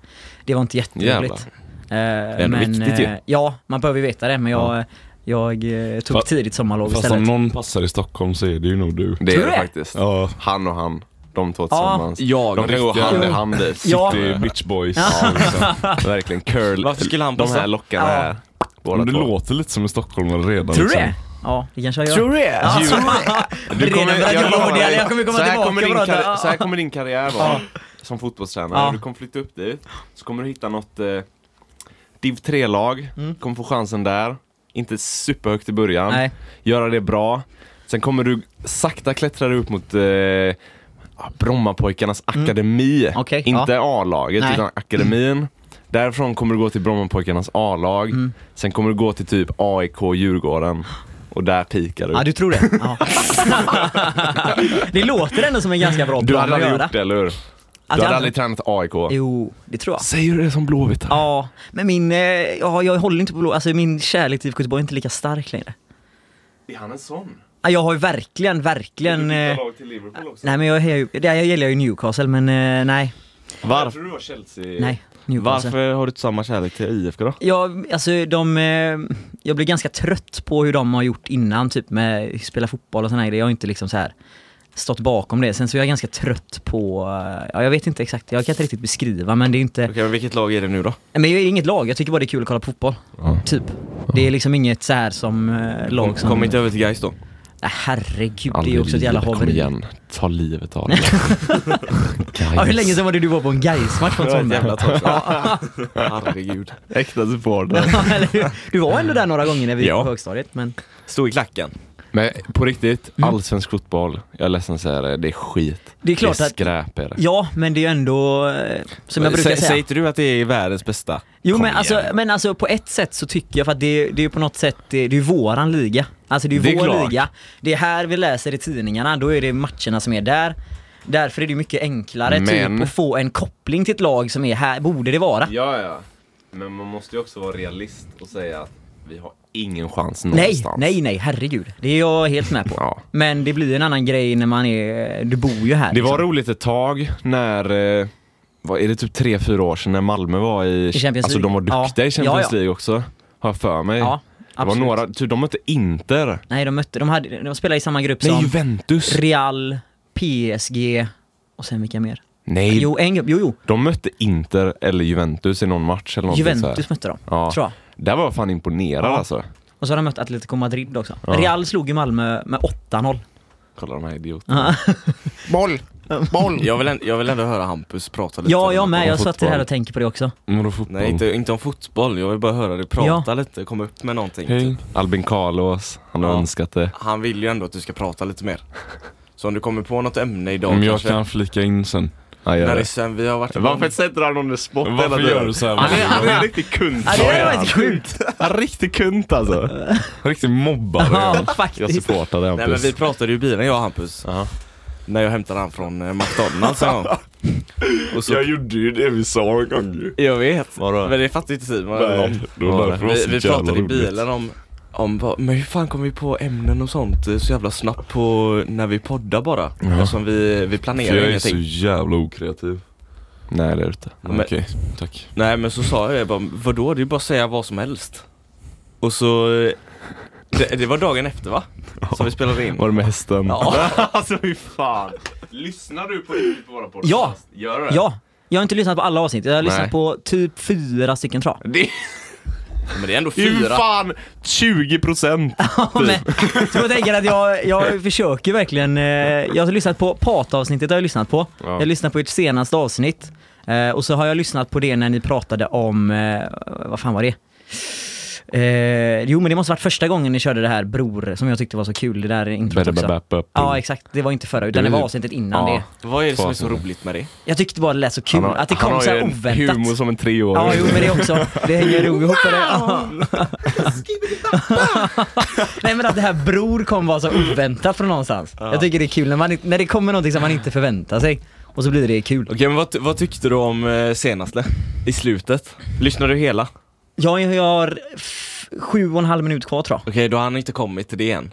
Speaker 3: Det var inte
Speaker 2: Jävlar.
Speaker 3: jätteroligt. Eh,
Speaker 1: ändå viktigt ju.
Speaker 3: Ja, man behöver ju veta det men jag, jag eh, tog
Speaker 4: Fast-
Speaker 3: tidigt sommarlov
Speaker 4: Fast om
Speaker 3: istället.
Speaker 4: någon passar i Stockholm så är det ju nog du.
Speaker 2: Det
Speaker 3: Tror
Speaker 2: är det
Speaker 3: du det?
Speaker 2: faktiskt.
Speaker 4: Ja.
Speaker 2: Han och han, de två tillsammans.
Speaker 1: Jag,
Speaker 2: De kan gå
Speaker 1: riktiga-
Speaker 2: hand i hand dit.
Speaker 3: Ja.
Speaker 4: Det är bitch boys.
Speaker 2: Verkligen curl.
Speaker 1: Varför skulle han
Speaker 2: De
Speaker 1: passa?
Speaker 2: här lockarna
Speaker 3: Ja.
Speaker 2: här. Båda
Speaker 4: Men du
Speaker 2: två.
Speaker 4: låter lite som en stockholmare redan.
Speaker 3: Tror du
Speaker 4: liksom.
Speaker 3: det? Ja, det kanske jag gör.
Speaker 2: du det?
Speaker 3: Ja, tror du det? Redan börjat jobba på det, eller jag kommer komma
Speaker 2: så här
Speaker 3: tillbaka
Speaker 2: kommer din
Speaker 3: och prata.
Speaker 2: karri-
Speaker 3: Ja,
Speaker 2: Så här kommer din karriär vara. Som fotbollstränare.
Speaker 3: Ja.
Speaker 2: Du kommer flytta upp dit. Så kommer du hitta något eh, div 3-lag. Kommer få chansen där. Inte superhögt i början.
Speaker 3: Mm. Nej.
Speaker 2: Göra det bra. Sen kommer du sakta klättra dig upp mot eh, Brommapojkarnas akademi.
Speaker 3: Mm. Okej,
Speaker 2: Inte A-laget
Speaker 3: Nej.
Speaker 2: utan akademin. Därifrån kommer du gå till Brommapojkarnas A-lag.
Speaker 3: Mm.
Speaker 2: Sen kommer du gå till typ AIK Djurgården. Och där pikar du.
Speaker 3: Ja, du tror det? Ja. det låter ändå som en ganska bra
Speaker 2: Du
Speaker 3: plan
Speaker 2: hade
Speaker 3: att
Speaker 2: aldrig
Speaker 3: göra.
Speaker 2: gjort det, eller hur?
Speaker 3: Att
Speaker 2: Du
Speaker 3: jag
Speaker 2: hade
Speaker 3: aldrig-
Speaker 2: aldrig tränat AIK?
Speaker 3: Jo, det tror jag.
Speaker 2: Säger du det som Blåvitt? här?
Speaker 3: Ja, men min, eh, ja, jag håller inte på blå, alltså min kärlek till IFK Göteborg är inte lika stark längre.
Speaker 5: Är han en sån?
Speaker 3: Ja, Jag har ju verkligen, verkligen...
Speaker 5: du byta
Speaker 3: Eh,
Speaker 5: lag till Liverpool också?
Speaker 3: nej men jag, hejar ju- det här gäller ju Newcastle men eh, nej,
Speaker 5: Jag
Speaker 1: Varför,
Speaker 5: tror du var Chelsea.
Speaker 3: nej, Newcastle.
Speaker 1: varför har du inte samma kärlek till IFK då?
Speaker 3: Jag, alltså de, eh, jag blir ganska trött på hur de har gjort innan, typ med spela fotboll och såna här grejer. Jag har inte liksom så här stått bakom det. Sen så är jag ganska trött på, eh, ja jag vet inte exakt, jag kan inte riktigt beskriva men det är inte,
Speaker 1: Okej, men vilket lag är det nu då?
Speaker 3: Nej, men jag är inget lag, jag tycker bara det är kul att kolla på fotboll. Typ. Det är liksom inget så här som eh, lag som...
Speaker 1: Kom inte över till Gais då?
Speaker 3: Nej, herregud, det är ju också ett jävla
Speaker 2: Kom
Speaker 3: haveri.
Speaker 2: igen, ta livet av dig.
Speaker 3: Ja, hur länge sedan var det du var på en Gais-match på en sån där?
Speaker 1: Herregud.
Speaker 2: Äkta supporter.
Speaker 3: Ja, eller hur? Du var ändå där några gånger när vi gick
Speaker 1: Ja.
Speaker 3: på högstadiet, men
Speaker 1: Stå i klacken.
Speaker 2: Men på riktigt, allsvensk fotboll, jag är ledsen att säga det, det är skit.
Speaker 3: Mm. det är klart
Speaker 2: det är
Speaker 3: att...
Speaker 2: skräp är det.
Speaker 3: Ja, men det är ju ändå, eh, som jag brukar
Speaker 1: Sä- Säger
Speaker 3: säga.
Speaker 1: inte du att det är världens bästa?
Speaker 3: Jo
Speaker 1: Kom
Speaker 3: men alltså,
Speaker 1: igen.
Speaker 3: men alltså på ett sätt så tycker jag för att det, det är ju på något sätt, det, det är ju våran liga. Alltså det är ju
Speaker 2: Det är
Speaker 3: vår
Speaker 2: klart.
Speaker 3: liga. Det är här vi läser i tidningarna, då är det matcherna som är där. Därför är det ju mycket enklare
Speaker 2: Men-
Speaker 3: typ att få en koppling till ett lag som är här, borde det vara.
Speaker 5: Ja, ja. Men man måste ju också vara realist och säga att vi har
Speaker 2: Ingen chans
Speaker 3: Nej,
Speaker 2: någonstans.
Speaker 3: nej, nej, herregud. Det är jag helt med på.
Speaker 2: Ja.
Speaker 3: Men det blir en annan grej när man är, du bor ju här.
Speaker 2: Det var
Speaker 3: liksom.
Speaker 2: roligt ett tag när, eh, vad är det typ 3-4 år sedan när Malmö var i,
Speaker 3: Champions League.
Speaker 2: alltså de var duktiga
Speaker 3: Ja.
Speaker 2: i Champions
Speaker 3: Ja, ja.
Speaker 2: League också, har jag för mig.
Speaker 3: Ja,
Speaker 2: det var
Speaker 3: absolut.
Speaker 2: några, typ, de mötte Inter,
Speaker 3: Nej, de mötte, de, hade, de spelade i samma grupp
Speaker 2: nej
Speaker 3: som
Speaker 2: Juventus,
Speaker 3: Real, PSG och sen vilka mer?
Speaker 2: nej
Speaker 3: Jo, en grupp, jo, jo.
Speaker 2: de mötte Inter eller Juventus i någon match eller någonting så här.
Speaker 3: Juventus mötte de,
Speaker 2: Ja.
Speaker 3: tror jag.
Speaker 2: Där var jag fan imponerad alltså.
Speaker 3: Och så har de mött Atletico Madrid också. Real slog ju Malmö med 8-0.
Speaker 2: Kolla de här idioterna.
Speaker 3: Ja,
Speaker 1: Boll! Boll! Jag vill, änd- jag vill ändå höra Hampus prata lite.
Speaker 3: ja,
Speaker 1: om-
Speaker 3: jag med.
Speaker 1: om
Speaker 3: Jag satt
Speaker 1: fotboll.
Speaker 3: här och tänkte på det också.
Speaker 4: Vadå fotboll?
Speaker 1: Nej, inte, inte om fotboll. Jag vill bara höra dig prata lite, komma upp med någonting.
Speaker 4: Hej.
Speaker 1: Typ.
Speaker 2: Albin Carlos, han har
Speaker 1: Ja.
Speaker 2: önskat det.
Speaker 1: Han vill ju ändå att du ska prata lite mer. Så om du kommer på något ämne idag
Speaker 4: Om Mm, jag
Speaker 1: kanske.
Speaker 4: kan flika in sen.
Speaker 2: Ja, gör
Speaker 1: När
Speaker 2: det.
Speaker 1: det sen vi har varit
Speaker 2: Varför sätter han under spot hela
Speaker 4: Varför
Speaker 2: tiden?
Speaker 4: gör du så här?
Speaker 2: Han är, han är en riktig kunt.
Speaker 3: Ja, det är faktiskt sjukt.
Speaker 2: Han är en riktig kunt alltså.
Speaker 4: Riktig mobbare.
Speaker 3: Ja,
Speaker 2: Jag
Speaker 3: faktiskt.
Speaker 2: supportar dig
Speaker 1: Nej men
Speaker 2: Hampus.
Speaker 1: vi pratade ju i bilen jag och Hampus.
Speaker 2: Ja.
Speaker 1: När jag hämtade han från eh, McDonalds en gång. Och så,
Speaker 4: gjorde ju det vi sa en gång ju.
Speaker 1: jag vet.
Speaker 2: Vadå?
Speaker 1: Men det fattade inte Simon.
Speaker 4: Nej, det var därför det var
Speaker 1: Vi,
Speaker 4: så
Speaker 1: vi
Speaker 4: jävla
Speaker 1: pratade i
Speaker 4: roligt.
Speaker 1: bilen om, om vad- men hur fan kom vi på ämnen och sånt eh, så jävla snabbt på när vi poddar bara? Eftersom vi, vi
Speaker 4: För
Speaker 1: planerar
Speaker 4: jag är så
Speaker 1: ingenting.
Speaker 4: jävla okreativ.
Speaker 2: Nej det är du inte.
Speaker 1: Men-
Speaker 4: Okej, tack.
Speaker 1: Nej men så sa jag, jag bara, vadå? Det är ju bara att säga vad som helst. Och så, eh, det, det var dagen efter va? Som vi spelade in.
Speaker 2: Var det med hästen?
Speaker 1: Ja,
Speaker 2: alltså fy fan.
Speaker 5: Lyssnar du på riktigt på våra podcast?
Speaker 3: Ja.
Speaker 5: Gör du det?
Speaker 3: Ja, jag har inte lyssnat på alla avsnitt. Jag har lyssnat
Speaker 2: Nej.
Speaker 3: på typ fyra stycken tror jag.
Speaker 2: Det
Speaker 1: men det är ändå
Speaker 2: är ju
Speaker 1: fyra.
Speaker 2: fan 20 procent.
Speaker 3: Ja,
Speaker 2: Typ.
Speaker 3: men- Så jag tänker att jag, jag försöker verkligen. eh, Jag har lyssnat på Pat-avsnittet har jag lyssnat på. Jag har lyssnat på ert senaste avsnitt. Eh, Och så har jag lyssnat på det när ni pratade om, eh, vad fan var det? Eh, jo men det måste varit första gången ni körde det här bror som jag tyckte var så kul, det där introt också. Ja exakt, det var inte förra utan det
Speaker 2: Det
Speaker 3: var
Speaker 2: var-
Speaker 3: avsnittet innan
Speaker 2: Ja.
Speaker 3: det.
Speaker 1: Vad är det som är så roligt med det?
Speaker 3: Jag tyckte bara det lät så kul, att det kom så här oväntat.
Speaker 2: humor som en treåring.
Speaker 3: Ja, jo men det också. Det hänger nog ihop med det. Ja. Nej men att det här bror kom var så oväntat från någonstans. Jag tycker det är kul när, man, när det kommer någonting som man inte förväntar sig och så blir det kul.
Speaker 1: Okej men vad, ty- vad tyckte du om eh, senaste? I slutet? Lyssnade du hela? Okej
Speaker 3: Jag, jag har f- sju och en halv minut kvar tror jag.
Speaker 1: då har han inte kommit till det än.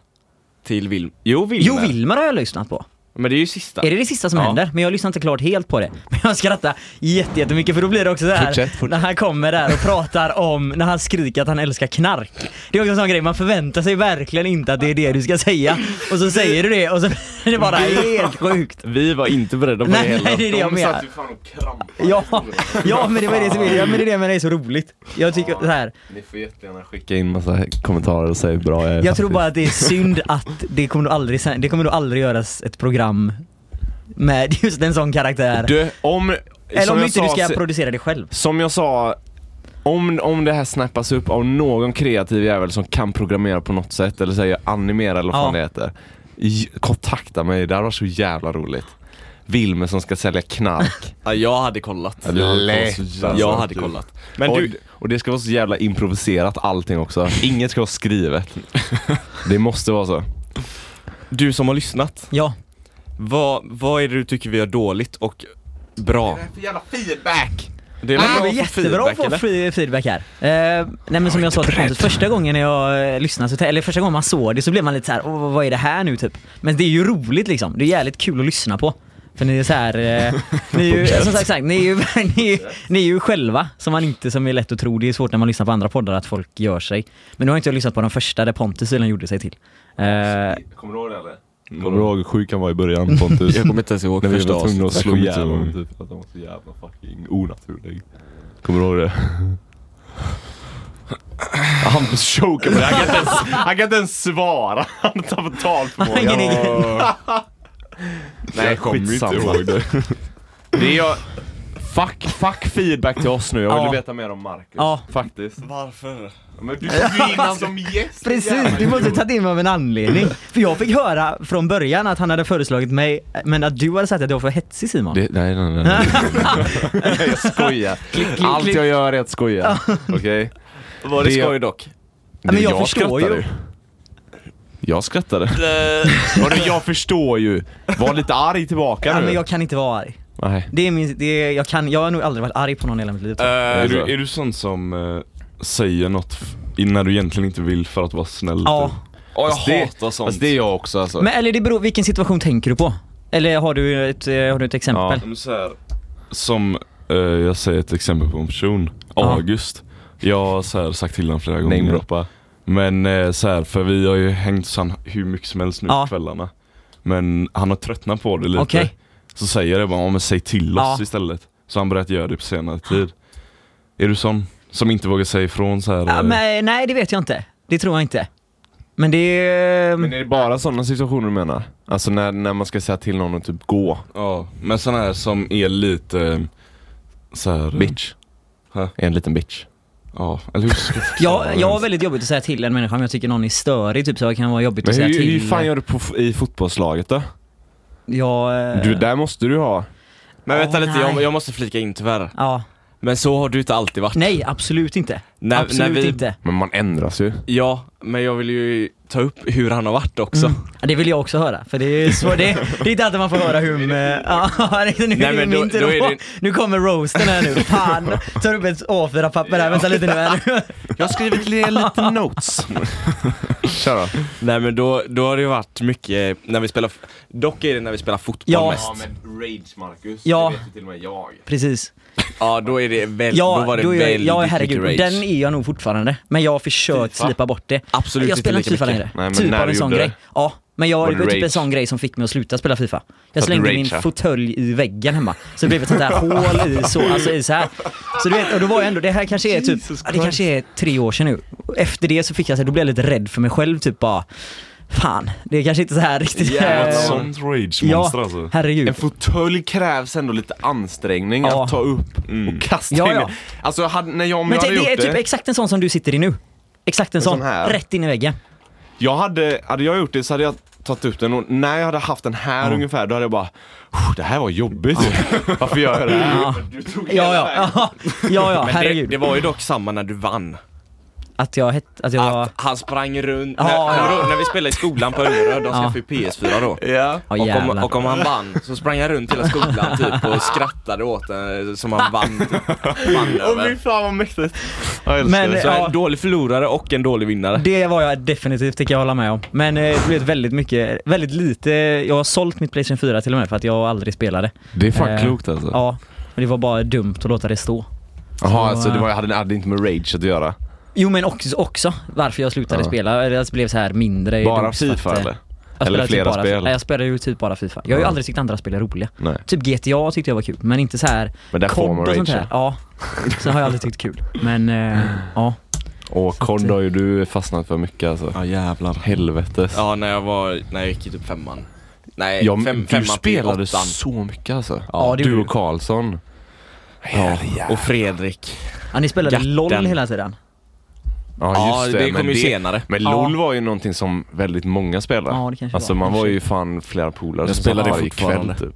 Speaker 1: Till Vilm. Jo Vilmer.
Speaker 3: Jo, Wilmer har jag lyssnat på.
Speaker 1: Men det är ju sista.
Speaker 3: Är det det sista som
Speaker 1: Ja.
Speaker 3: händer? Men jag lyssnar inte klart helt på det. Men jag skrattar jätte- jättemycket för då blir det också så här
Speaker 2: Fortsätt, fortsätt.
Speaker 3: när han kommer där och pratar om när han skriker att han älskar knark. Det är också en sån grej, man förväntar sig verkligen inte att det är det du ska säga. Och så säger du det och så är det bara helt sjukt.
Speaker 1: Vi var inte beredda på det
Speaker 3: Nej,
Speaker 1: heller.
Speaker 3: nej, det är det jag
Speaker 5: De
Speaker 3: menar.
Speaker 5: satt ju fan och krampade.
Speaker 3: Ja, ja men det var det som är, ja, men det, är det, men det är så roligt. Jag tycker så här.
Speaker 5: Ni får jättegärna skicka
Speaker 2: Skicka in massa kommentarer och säg hur bra jag är.
Speaker 3: jag tror bara att det är synd att det kommer nog aldrig, sen- det kommer nog aldrig göras ett program med just en sån karaktär.
Speaker 2: Du, om...
Speaker 3: Eller
Speaker 2: som
Speaker 3: om
Speaker 2: jag
Speaker 3: inte du
Speaker 2: sa
Speaker 3: ska
Speaker 2: se-
Speaker 3: producera det själv.
Speaker 2: Som jag sa, om, om det här snappas upp av någon kreativ jävel som kan programmera på något sätt eller säga animera eller vad fan
Speaker 3: Ja.
Speaker 2: det heter. j- Kontakta mig, det här var så jävla roligt. Vilmer som ska sälja knark.
Speaker 1: Ja, jag hade kollat.
Speaker 2: Lätt,
Speaker 1: Jag hade kollat.
Speaker 2: Men
Speaker 1: Men
Speaker 2: och,
Speaker 1: du,
Speaker 2: och det ska vara så jävla improviserat allting också. Inget ska vara skrivet. Det måste vara så.
Speaker 1: du som har lyssnat,
Speaker 3: Ja.
Speaker 1: vad, vad är det du tycker vi gör dåligt och bra?
Speaker 5: Vad är det för jävla feedback?
Speaker 1: Det är
Speaker 3: Ah, Det var
Speaker 1: bra att få
Speaker 3: jättebra att
Speaker 1: feedback
Speaker 3: få
Speaker 1: eller?
Speaker 3: fri- feedback här. Eh, nej men som jag sa till Pontus, första gången när jag eh, lyssnade, så, eller första gången man såg det så blev man lite så här, "Åh, vad- vad är det här nu typ? Men det är ju roligt liksom, det är jävligt kul att lyssna på. För ni är så här, eh, ni är ju, som sagt, sagt ni, är ju, ni, är, ni är ju själva som man inte, som är lätt att tro, det är svårt när man lyssnar på andra poddar att folk gör sig. Men nu har inte jag lyssnat på den första där Pontus tydligen gjorde sig till. Eh,
Speaker 5: Kommer du ihåg det eller?
Speaker 4: Kommer du ihåg hur sjuk han var i början Pontus?
Speaker 1: Jag kommer inte ens ihåg
Speaker 4: När vi
Speaker 1: första
Speaker 4: var tvungna att
Speaker 1: avsnittet.
Speaker 4: slå ihjäl honom.
Speaker 2: typ att de var så jävla fucking onaturlig. Kommer du ihåg det? Hampus chokar på det. Han kan inte ens, han kan inte ens svara. Han tappar
Speaker 3: Ingen
Speaker 2: talförmågan.
Speaker 3: idé.
Speaker 2: Nej,
Speaker 4: jag kommer ju inte
Speaker 2: skitsamma.
Speaker 4: ihåg det.
Speaker 2: Det är jag... Fuck, fuck feedback till oss nu. Jag vill
Speaker 3: Ja.
Speaker 2: veta mer om Marcus.
Speaker 3: Ja.
Speaker 2: Faktiskt.
Speaker 5: Varför?
Speaker 2: Ja, Men du tog ju in han som gäst.
Speaker 3: Precis, du måste tagit in mig av en anledning. För jag fick höra från början att han hade föreslagit mig, men att du hade sagt att jag var för hetsig Simon.
Speaker 4: det nej, nej, nej. nej.
Speaker 2: Jag skojar.
Speaker 3: klick,
Speaker 2: Allt
Speaker 3: klick.
Speaker 2: jag gör är att skoja. Okej?
Speaker 1: Var det skoj dock?
Speaker 3: Ja, men
Speaker 2: Det-
Speaker 3: jag förstår ju.
Speaker 2: skrattade. Jag skrattade.
Speaker 1: Eh,
Speaker 2: Vadå, jag förstår ju. Var lite arg tillbaka
Speaker 3: ja,
Speaker 2: nu.
Speaker 3: men jag kan inte vara arg.
Speaker 2: Nej.
Speaker 3: Det är min, det är, jag kan, jag har nog aldrig varit arg på någon i hela mitt liv. tror jag.
Speaker 1: Eh,
Speaker 4: är,
Speaker 2: Alltså.
Speaker 4: du, är du sån som eh, säger något f- när du egentligen inte vill för att vara snäll? typ?
Speaker 3: Ja.
Speaker 4: jag
Speaker 2: Fast det-
Speaker 4: hatar sånt.
Speaker 2: Fast det är jag också alltså.
Speaker 3: Men eller det beror, vilken situation tänker du på? Eller har du ett, eh, har du ett
Speaker 4: Ja,
Speaker 3: exempel?
Speaker 4: men så här, som eh, jag säger ett exempel på en person,
Speaker 3: Ja.
Speaker 4: August. Jag har så här, sagt till honom flera gånger.
Speaker 3: Mm.
Speaker 2: Namedroppa.
Speaker 4: Men eh, så här, för vi har ju hängt sann hur mycket som helst nu
Speaker 3: Ja.
Speaker 4: på kvällarna. Men han har tröttnat på det lite.
Speaker 3: Okej.
Speaker 4: Så säger jag bara, "Ja, men säg till oss
Speaker 3: Ja.
Speaker 4: istället. Så han börjat göra det på senare tid. Är du sån? Som inte vågar säga ifrån så här.
Speaker 3: Ja,
Speaker 4: eh,
Speaker 3: men, nej det vet jag inte. Det tror jag inte. Men det är...
Speaker 2: Men är det bara sådana situationer du menar? Alltså när, när man ska säga till någon att typ gå?
Speaker 4: Ja, men sån här som är lite eh, så här.
Speaker 2: Bitch.
Speaker 4: Hä?
Speaker 2: Är en liten bitch.
Speaker 4: Ja, eller hur ska jag förklara
Speaker 3: Jag, jag har
Speaker 4: ens?
Speaker 3: väldigt jobbigt att säga till en människa om jag tycker någon är störig, typ så det kan vara jobbigt
Speaker 2: Men
Speaker 3: att säga
Speaker 2: hur,
Speaker 3: till.
Speaker 2: hur fan gör du på, f- i fotbollslaget då?
Speaker 3: Jag... eh,
Speaker 2: Du, där måste du ha.
Speaker 1: Men
Speaker 3: Ja,
Speaker 1: vänta lite, jag,
Speaker 3: nej.
Speaker 1: jag måste flika in tyvärr.
Speaker 3: Ja.
Speaker 1: Men så har du inte alltid varit.
Speaker 3: Nej, absolut inte.
Speaker 1: När- när
Speaker 3: absolut
Speaker 1: vi-
Speaker 3: inte.
Speaker 2: Men man ändras ju.
Speaker 1: Ja, men jag vill ju ta upp hur han har varit också.
Speaker 3: Mm. Ja, Det vill jag också höra, för det är, så, det, det är inte alltid man får höra hur... med- Ja, nu är
Speaker 1: Nej,
Speaker 3: det
Speaker 1: men
Speaker 3: min
Speaker 1: då-
Speaker 3: tur
Speaker 1: då
Speaker 3: att
Speaker 1: är
Speaker 3: få-
Speaker 1: det-
Speaker 3: Nu kommer roasten här nu. Fan! Tar upp ett A4-papper här, vänta lite nu här.
Speaker 2: Jag har skrivit lite notes. Kör då.
Speaker 1: Nej men då, då har det ju varit mycket när vi spelar, dock är det när vi spelar fotboll
Speaker 3: Ja.
Speaker 1: mest.
Speaker 5: Ja men rage Marcus,
Speaker 3: Ja.
Speaker 5: det vet ju till och med jag.
Speaker 3: Precis.
Speaker 1: Ja då är det väl, då var det
Speaker 3: är jag,
Speaker 1: väldigt
Speaker 3: ja, herregud.
Speaker 1: mycket
Speaker 3: Och
Speaker 1: rage.
Speaker 3: Den är jag nog fortfarande, men jag har försökt
Speaker 1: Fifa?
Speaker 3: slipa bort det.
Speaker 1: Absolut
Speaker 3: jag
Speaker 1: inte
Speaker 3: spelar inte
Speaker 1: lika
Speaker 3: Fifa
Speaker 1: mycket.
Speaker 3: längre.
Speaker 2: Nej, men
Speaker 3: typ
Speaker 2: när
Speaker 3: av en
Speaker 2: du
Speaker 3: sån
Speaker 2: gjorde
Speaker 3: grej.
Speaker 2: det?
Speaker 3: Ja, men jag,
Speaker 2: Var
Speaker 3: det
Speaker 2: det
Speaker 3: var typ
Speaker 2: rage?
Speaker 3: en sån grej som fick mig att sluta spela Fifa. Jag
Speaker 2: att du
Speaker 3: slängde min
Speaker 2: rageade?
Speaker 3: fåtölj i väggen hemma, så det blev ett sånt där hål i så, alltså i så här. Så du vet, och då var jag ändå, det här kanske är typ, ja, det kanske är tre år sedan nu. Och Efter det så fick jag så här, då blev jag lite rädd för mig själv, typ bara, fan, det är kanske inte så här riktigt.
Speaker 4: Ett
Speaker 2: Jävlar,
Speaker 3: eh,
Speaker 4: sånt rage-monster
Speaker 3: Ja,
Speaker 4: alltså.
Speaker 2: En
Speaker 3: herregud.
Speaker 2: fåtölj krävs ändå lite ansträngning
Speaker 3: Ja.
Speaker 2: att ta upp och kasta
Speaker 3: Ja,
Speaker 2: in
Speaker 3: ja.
Speaker 2: den. Alltså hade, när jag, om
Speaker 3: Men
Speaker 2: jag hade
Speaker 3: tänk, det är
Speaker 2: gjort
Speaker 3: typ
Speaker 2: det,
Speaker 3: exakt en sån som du sitter i nu. Exakt en sån,
Speaker 2: sån här?
Speaker 3: rätt in i väggen.
Speaker 2: jag hade, hade jag gjort det så hade jag tagit upp den och när jag hade haft den här ungefär då hade jag bara "Phew, Det här var jobbigt. Varför gör jag det här?
Speaker 3: Ja.
Speaker 5: Du tog
Speaker 3: Ja,
Speaker 5: hela
Speaker 3: ja,
Speaker 5: vägen.
Speaker 3: ja, ja, ja
Speaker 1: Men det,
Speaker 3: herregud.
Speaker 1: det var ju dock samma när du vann.
Speaker 3: Att jag hette, att jag var...
Speaker 1: Att han sprang runt,
Speaker 3: Ja,
Speaker 1: när,
Speaker 3: ja.
Speaker 1: När, då, när vi spelade i skolan på Överöd, de
Speaker 3: Ja.
Speaker 1: skaffade ju PS4 då.
Speaker 2: Ja.
Speaker 3: Ja
Speaker 1: och, om,
Speaker 3: jävlar.
Speaker 1: och om han vann så sprang han runt hela skolan typ och skrattade åt den som han vann, vann
Speaker 2: Åh fy
Speaker 1: över.
Speaker 2: fan vad mäktigt. Jag älskar
Speaker 3: Men,
Speaker 2: det.
Speaker 1: Så
Speaker 2: Så-
Speaker 3: Ja.
Speaker 1: en dålig förlorare och en dålig vinnare.
Speaker 3: Det var jag definitivt, det kan jag hålla med om. Men eh, det blev väldigt mycket, väldigt lite, jag har sålt mitt Playstation 4 till och med för att jag aldrig spelade.
Speaker 4: Det är fan
Speaker 3: Eh,
Speaker 4: klokt alltså.
Speaker 3: Ja, men det var bara dumt att låta det stå.
Speaker 2: Jaha,
Speaker 3: Så,
Speaker 2: alltså det
Speaker 3: eh,
Speaker 2: var, hade, hade inte med rage att göra?
Speaker 3: Jo men också, också varför jag slutade spela, eller jag blev så här mindre. är
Speaker 2: Bara
Speaker 3: dumt för att,
Speaker 2: Fifa
Speaker 3: eh,
Speaker 2: eller?
Speaker 3: Jag
Speaker 2: Eller
Speaker 3: spelade
Speaker 2: flera
Speaker 3: typ bara,
Speaker 2: spel?
Speaker 3: Nej, jag spelade ju typ bara Fifa. Jag har ju
Speaker 2: Ja.
Speaker 3: aldrig tyckt andra spel är roliga.
Speaker 2: Nej.
Speaker 3: Typ GTA tyckte jag var kul, men inte så här
Speaker 2: Men där får
Speaker 3: COD
Speaker 2: man
Speaker 3: och sånt
Speaker 2: rage.
Speaker 3: här. Ja, så har jag aldrig tyckt kul. Men eh, ja.
Speaker 2: Och COD har ju du fastnat för mycket alltså.
Speaker 1: Ja jävlar.
Speaker 2: Helvetes.
Speaker 1: Ja när jag var, när jag gick i typ femman. Nej,
Speaker 2: Ja, men
Speaker 1: fem,
Speaker 2: du
Speaker 1: femman
Speaker 2: spelade
Speaker 1: till åttan.
Speaker 2: så mycket alltså.
Speaker 3: Ja, det gjorde
Speaker 2: du
Speaker 3: du.
Speaker 2: och Karlsson.
Speaker 1: Ja, och Fredrik.
Speaker 3: ja, ni spelade
Speaker 1: Gatten.
Speaker 3: LOL hela tiden.
Speaker 1: Ja, det
Speaker 2: men
Speaker 1: kom ju senare.
Speaker 2: Men
Speaker 3: Ja.
Speaker 2: LOL var ju någonting som väldigt många spelade.
Speaker 3: Ja, det kanske
Speaker 2: alltså
Speaker 3: var.
Speaker 2: man var ju fan flera polare
Speaker 1: Jag
Speaker 2: som
Speaker 1: spelar
Speaker 2: satt
Speaker 1: det
Speaker 2: varje
Speaker 1: fortfarande.
Speaker 2: typ.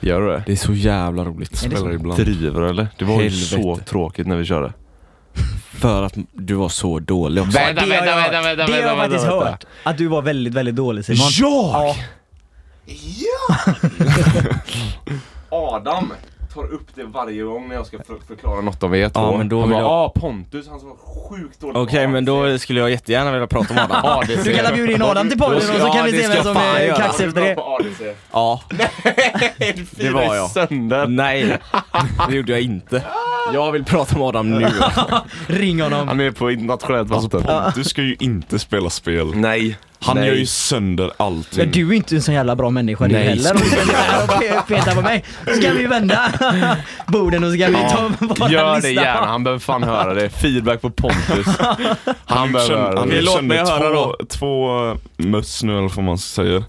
Speaker 2: Gör du det?
Speaker 1: Det är så jävla roligt.
Speaker 3: Är det så?
Speaker 4: Spelar ibland.
Speaker 2: Driver du, eller? Det var ju
Speaker 1: Helvete.
Speaker 2: så tråkigt när vi körde.
Speaker 1: För att du var så dålig också.
Speaker 2: Vänta,
Speaker 3: det har jag
Speaker 2: vänta,
Speaker 3: hört.
Speaker 2: vänta, vänta,
Speaker 3: Det har jag
Speaker 2: vänta,
Speaker 3: faktiskt
Speaker 2: vänta.
Speaker 3: hört. Att du var väldigt, väldigt dålig Simon.
Speaker 2: Jag?
Speaker 3: Ja,
Speaker 5: Adam tar upp det varje gång när jag ska för- förklara något.
Speaker 2: Något av er två.
Speaker 1: Ja, men då
Speaker 2: Han
Speaker 1: vill
Speaker 2: bara,
Speaker 1: jag-
Speaker 2: ah Pontus.
Speaker 5: Du, han som var sjukt dålig på
Speaker 1: Okej men
Speaker 5: AC.
Speaker 1: då skulle jag jättegärna vilja prata om Adam.
Speaker 2: Ah, det
Speaker 3: Du kan bjuda in Adam till podden och så
Speaker 1: Ja,
Speaker 3: kan vi
Speaker 1: det
Speaker 3: se
Speaker 1: ska
Speaker 3: vem
Speaker 1: jag
Speaker 3: som
Speaker 1: fan
Speaker 3: är
Speaker 1: göra.
Speaker 3: kaxig efter
Speaker 5: Du är
Speaker 3: det.
Speaker 5: bra på ADC.
Speaker 1: Ja,
Speaker 2: det var jag. Sönder.
Speaker 1: nej det gjorde jag inte. Jag vill prata med Adam nu.
Speaker 3: Ring honom.
Speaker 2: Han är på internationellt vatten.
Speaker 4: Du Alltså, ska ju inte spela spel.
Speaker 2: Nej.
Speaker 4: Han
Speaker 2: Nej.
Speaker 4: gör ju sönder allting.
Speaker 3: Ja, du är inte en så jävla bra människa du
Speaker 1: Nej,
Speaker 3: heller. Om du ska ligga här och pe- peta på mig. Så kan vi vända borden och så kan vi ta våran
Speaker 2: Gör
Speaker 3: lista.
Speaker 2: det gärna, han behöver fan höra det. Feedback på Pontus. Han
Speaker 4: Han
Speaker 2: behöver höra
Speaker 4: har
Speaker 2: det.
Speaker 4: gjort
Speaker 1: låt mig
Speaker 4: sönder
Speaker 1: höra
Speaker 4: två, två eh, möss nu eller vad man säger.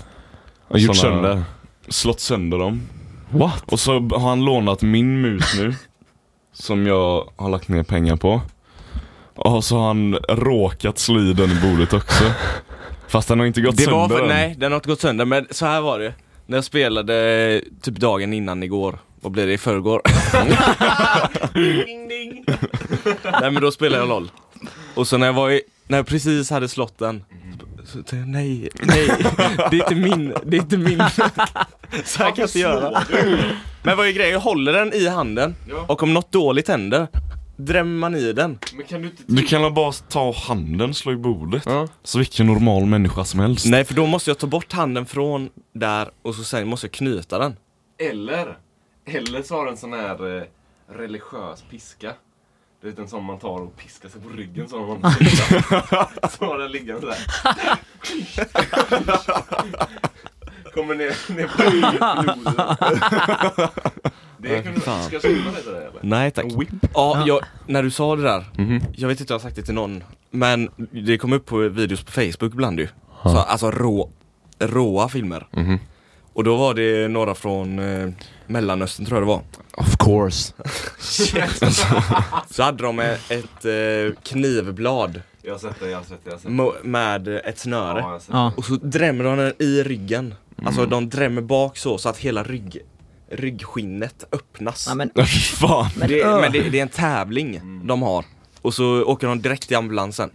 Speaker 2: Han gjort
Speaker 4: Såna-
Speaker 2: sönder.
Speaker 4: Slått sönder dem. What? Och så har han lånat min mus nu. som jag har lagt ner pengar på. Och så har han råkat slå i den i bordet också. Fast den har inte gått
Speaker 1: Det
Speaker 4: sönder
Speaker 1: var för,
Speaker 4: än.
Speaker 1: nej, den har inte gått sönder men så här var det. När jag spelade eh, typ dagen innan igår, vad blev det i förrgår?
Speaker 5: Ding, ding.
Speaker 1: nej men då spelade jag LOL. Och så när jag var i, när jag precis hade slått den, så tänkte jag nej, nej, det är inte min, det är inte min. så här kan jag inte göra. Men vad är grejen? Jag håller den i handen
Speaker 5: Ja.
Speaker 1: och om något dåligt händer, drämmer man i den.
Speaker 5: Men kan du inte...
Speaker 4: Du kan väl bara ta handen och slå i bordet? Så vilken normal människa som helst.
Speaker 1: Nej för då måste jag ta bort handen från där och så sen måste jag knyta den.
Speaker 5: Eller, eller så har du en sån här eh, religiös piska. Du vet en sån man tar och piskar sig på ryggen så har man Så har den liggande där. Kommer ner, ner på blodet. Det kan du... Ska jag skriva lite det eller?
Speaker 1: Nej tack. Ja, jag, när du sa det där, jag vet inte om jag har sagt det till någon, men det kom upp på videos på Facebook ibland ju. Så, alltså rå, råa filmer. Och då var det några från eh, Mellanöstern tror jag det var.
Speaker 2: Of course.
Speaker 1: Så hade de ett, ett eh, knivblad
Speaker 5: Jag har sett det, jag har sett det, jag har sett
Speaker 2: Mm.
Speaker 5: det.
Speaker 1: mo- med ett
Speaker 5: Ja,
Speaker 1: snöre.
Speaker 5: jag har sett det.
Speaker 3: Ja.
Speaker 1: Och så drämmer de den i ryggen. Alltså de drämmer bak så, så att hela rygg, ryggskinnet öppnas.
Speaker 3: Ja, men,
Speaker 4: Fan.
Speaker 1: Men, det,
Speaker 3: öh.
Speaker 1: men det, det är en tävling de har. Och så åker de direkt i ambulansen.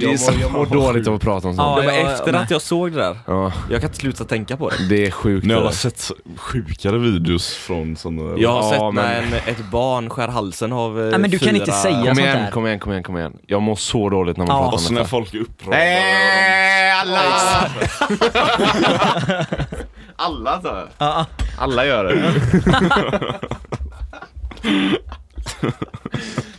Speaker 2: Det är så jag mår dåligt av att prata om sånt.
Speaker 3: Ja,
Speaker 1: Ja, men
Speaker 3: jag-
Speaker 1: efter
Speaker 3: jag
Speaker 1: att jag såg det där,
Speaker 2: Ja.
Speaker 1: jag kan inte sluta tänka på det.
Speaker 2: Det är sjukt.
Speaker 4: Ni har
Speaker 2: det
Speaker 4: alla
Speaker 2: där.
Speaker 4: sett sjukare videos från sådana där?
Speaker 1: Jag har
Speaker 2: Ja,
Speaker 1: sett när
Speaker 2: men-
Speaker 1: en, ett barn skär halsen av eh,
Speaker 3: Ja, men du kan
Speaker 1: fyra-
Speaker 3: inte säga-
Speaker 2: Kom
Speaker 3: sånt där.
Speaker 2: igen, kom igen, kom igen, kom igen. Jag mår så dåligt när man
Speaker 3: Ja.
Speaker 2: pratar
Speaker 4: Och
Speaker 2: om Eh,
Speaker 4: så
Speaker 1: Alltså,
Speaker 2: detta.
Speaker 4: när folk är upprörda.
Speaker 5: Nej, alla! Alla sa jag.
Speaker 3: ja, ja.
Speaker 2: Alla gör det.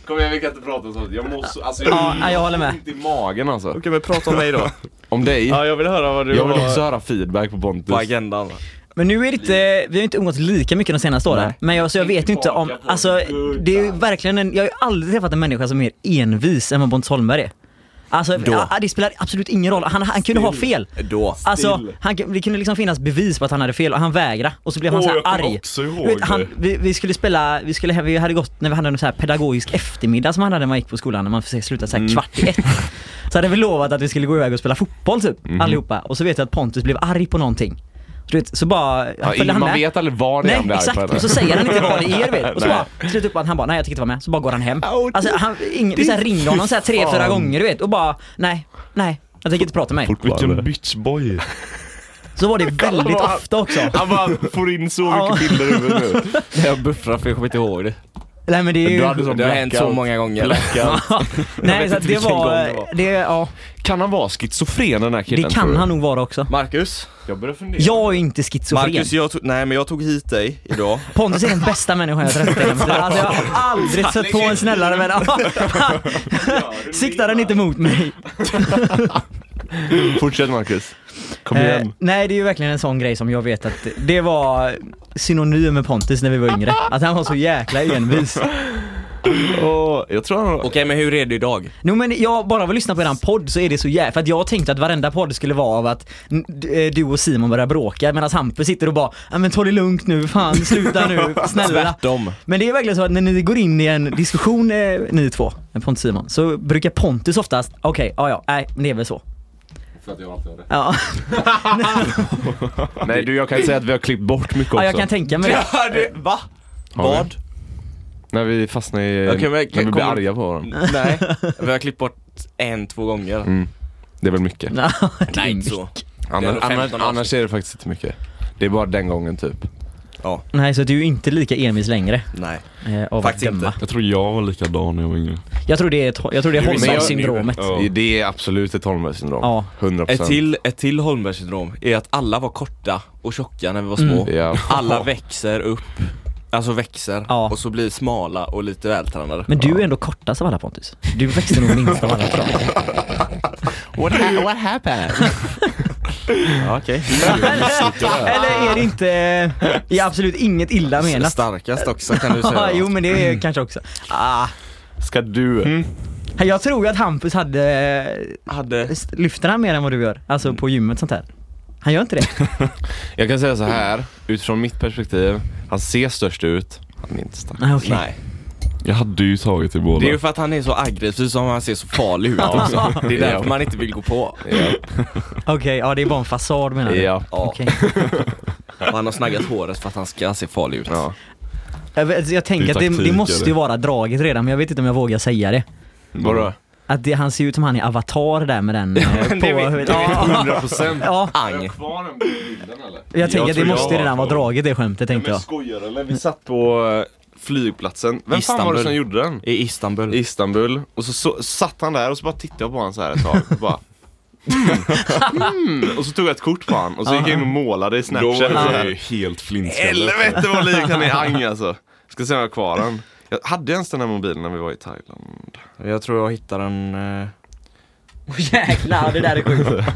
Speaker 5: Kom igen, vi kan inte prata om sånt. Jag måste... Alltså,
Speaker 3: Ja, nej, jag håller med.
Speaker 5: Inte i magen.
Speaker 2: Magen alltså.
Speaker 1: Okej men prata om mig då.
Speaker 2: Om dig.
Speaker 1: ja jag vill höra vad du
Speaker 2: Jag vill
Speaker 1: har
Speaker 2: också höra feedback på Pontus.
Speaker 1: på agendan.
Speaker 3: Men nu är det inte, vi har inte umgåtts lika mycket de senaste åren. Men jag, så jag vet ju inte om,
Speaker 5: Tillbaka på
Speaker 3: alltså det är ju verkligen en, jag har ju aldrig träffat en människa som är mer envis än vad Pontus Holmberg är. Alltså ja, det spelar absolut ingen roll, han, han kunde ha fel.
Speaker 1: Då.
Speaker 3: Alltså, han, det kunde liksom finnas bevis på att han hade fel och han vägrade och så blev han
Speaker 4: Åh,
Speaker 3: så här
Speaker 4: jag kommer
Speaker 3: arg.
Speaker 4: också ihåg
Speaker 3: Du vet, han,
Speaker 4: det.
Speaker 3: vi, vi skulle spela, vi, skulle, vi hade gått när vi hade en så här pedagogisk eftermiddag som han hade när man gick på skolan när man försökte sluta så här
Speaker 2: Mm.
Speaker 3: kvart i ett. Så hade vi lovat att vi skulle gå iväg och spela fotboll typ,
Speaker 2: Mhm.
Speaker 3: allihopa. Och så vet jag att Pontus blev arg på någonting. Så, du vet, så bara,
Speaker 2: Ja,
Speaker 3: följde han
Speaker 2: man
Speaker 3: med.
Speaker 2: vet aldrig var det är
Speaker 3: Nej
Speaker 2: han blir arg
Speaker 3: exakt,
Speaker 2: på
Speaker 3: och
Speaker 2: henne.
Speaker 3: så säger han inte vad det är vet. Och så
Speaker 2: Nej.
Speaker 3: bara, slutar upp med att han bara nej jag tycker inte vara med, så bara går han hem. Alltså han, ingen, vi så här ringde honom så här tre, fyra gånger du vet och bara nej, nej, jag tänker inte prata med mig.
Speaker 4: Vilken bitchboy.
Speaker 3: Så var det väldigt ofta också.
Speaker 2: Han bara får in så
Speaker 3: Ja.
Speaker 2: mycket bilder i huvudet nu.
Speaker 1: Jag buffrar för jag kommer inte ihåg det.
Speaker 3: Nej men det är ju...
Speaker 2: Du hade sån
Speaker 1: Det har hänt så
Speaker 2: blackout.
Speaker 1: många gånger.
Speaker 3: Nej, så att det
Speaker 1: vilken
Speaker 3: var,
Speaker 1: gång det
Speaker 3: det
Speaker 1: var.
Speaker 3: ja,
Speaker 2: Kan han vara schizofren den här
Speaker 3: det
Speaker 2: killen? tror
Speaker 3: kan
Speaker 2: du?
Speaker 3: han nog vara också.
Speaker 1: Marcus,
Speaker 5: Jag börjar fundera.
Speaker 3: Jag är ju inte schizofren.
Speaker 1: Marcus jag tog, nej men jag tog hit dig idag.
Speaker 3: Pontus är den bästa människan jag träffat i hela mitt liv. Alltså jag har aldrig sett på en snällare människa. Siktar den inte mot mig.
Speaker 2: Fortsätt Marcus. Kom
Speaker 3: Eh,
Speaker 2: igen.
Speaker 3: nej det är ju verkligen en sån grej som jag vet att det var synonym med Pontus när vi var yngre. Att han var så jäkla envis.
Speaker 2: Åh, jag tror han
Speaker 1: Okej men hur är det idag?
Speaker 3: No, men jag bara vill lyssna på eran podd så är det så jävla... För att jag tänkte att varenda podd skulle vara av att n- d- eh, du och Simon börjar bråka medan Hampus sitter och bara "Ja, men ta det lugnt nu, fan sluta nu, snälla.
Speaker 1: Tvärtom.
Speaker 3: Men det är verkligen så att när ni går in i en diskussion eh, ni två, med Pontus och Simon, så brukar Pontus oftast, okej, ja ja, nej men det är väl så.
Speaker 5: För att jag alltid har det.
Speaker 3: Ja,
Speaker 2: Nej du, jag kan säga att vi har klippt bort mycket också.
Speaker 3: ja jag kan tänka mig det.
Speaker 1: Ja, det va?
Speaker 2: Har vi?
Speaker 1: Vad?
Speaker 2: När vi fastnar i...
Speaker 1: Okej, men
Speaker 2: när vi
Speaker 1: kommer-
Speaker 2: blir arga på varandra.
Speaker 1: Nej, vi har klippt bort en, två gånger.
Speaker 2: Det är väl mycket.
Speaker 3: Ja, det är
Speaker 1: Nej inte
Speaker 3: mycket.
Speaker 1: så. Det är
Speaker 2: Annars,
Speaker 1: nog 15
Speaker 2: annars,
Speaker 1: avsnitt.
Speaker 2: annars är det faktiskt inte mycket. Det är bara den gången typ.
Speaker 3: Nej, så du är inte lika envis längre
Speaker 1: Nej.
Speaker 3: eh, av
Speaker 1: Faktiskt
Speaker 3: att döma.
Speaker 1: inte.
Speaker 4: Jag tror jag var likadan när jag var yngre.
Speaker 3: Jag tror det är, ett- jag tror det är
Speaker 1: Du är mer-
Speaker 3: Holmberg-syndromet.
Speaker 4: Ja.
Speaker 2: Det är absolut ett Holmbergssyndrom.
Speaker 3: Ja.
Speaker 2: 100%.
Speaker 1: Ett till, ett till Mm. Holmbergsyndrom är att alla var korta och tjocka när vi var små.
Speaker 2: Ja.
Speaker 1: Alla växer upp Alltså växer
Speaker 3: Ja.
Speaker 1: och så blir smala och lite vältränade.
Speaker 3: Men du är ändå kortast av alla Pontus. Du växte nog minst av alla. tror jag.
Speaker 1: What, ha- what happened? ja, okej.
Speaker 3: Eller är det inte, eh, är absolut inget illa menat.
Speaker 1: Starkast också kan du säga.
Speaker 3: Ja, Mm. jo men det är kanske också. Ah,
Speaker 2: Ska du?
Speaker 3: jag tror ju att Hampus hade, eh,
Speaker 1: Hade...
Speaker 3: lyfter han mer än vad du gör? Alltså på gymmet sånt här. Han gör inte det.
Speaker 2: Jag kan säga så här, utifrån mitt perspektiv, han ser störst ut, han är inte stark.
Speaker 3: Nej, okej.
Speaker 1: Nej.
Speaker 4: Jag hade ju tagit i båda.
Speaker 1: Det är ju för att han är så aggressiv som han ser så farlig ut också. Det är därför man inte vill gå på.
Speaker 3: Okej, ja det är bara en fasad menar du?
Speaker 2: Ja.
Speaker 1: Ja.
Speaker 3: Okej.
Speaker 1: Och han har snaggat håret för att han ska se farlig ut.
Speaker 2: Ja.
Speaker 3: Jag, vet- jag
Speaker 4: Det
Speaker 3: tänker
Speaker 4: är
Speaker 3: att det,
Speaker 4: taktik,
Speaker 3: det måste ju
Speaker 4: eller?
Speaker 3: vara draget redan men jag vet inte om jag vågar säga det.
Speaker 4: Mm.
Speaker 2: Vadå?
Speaker 3: Att det, han ser ut som han i Avatar där med den eh, på
Speaker 1: det vet-
Speaker 3: huvudet.
Speaker 1: det vet
Speaker 3: Ja,
Speaker 2: 100%
Speaker 3: ja,
Speaker 5: Har
Speaker 1: Ang.
Speaker 5: jag kvar den bilden eller?
Speaker 3: jag tänker att det
Speaker 2: tror jag
Speaker 3: måste ju
Speaker 2: har
Speaker 3: redan vara
Speaker 2: kvar.
Speaker 3: draget det skämtet tänkte
Speaker 2: Men
Speaker 3: jag.
Speaker 2: skojar eller? Vi satt på eh, flygplatsen, vem fan var det
Speaker 1: Istanbul.
Speaker 2: som gjorde den?
Speaker 1: I Istanbul.
Speaker 4: Mm.
Speaker 2: I Istanbul, och så, så satt han där och så bara tittade jag på honom så här ett tag och bara mm. Mm. Och så tog jag ett kort på honom och så gick jag in och målade i
Speaker 4: Då var
Speaker 2: snapchat så
Speaker 4: jag ju
Speaker 2: här.
Speaker 4: helt flintskalle.
Speaker 2: Helvete vad lik han är Ang alltså! Ska se om jag har kvar den Jag hade ens den här mobilen när vi var i Thailand
Speaker 1: Jag tror jag hittar en... eh,
Speaker 3: Jäklar, det där är sjukt.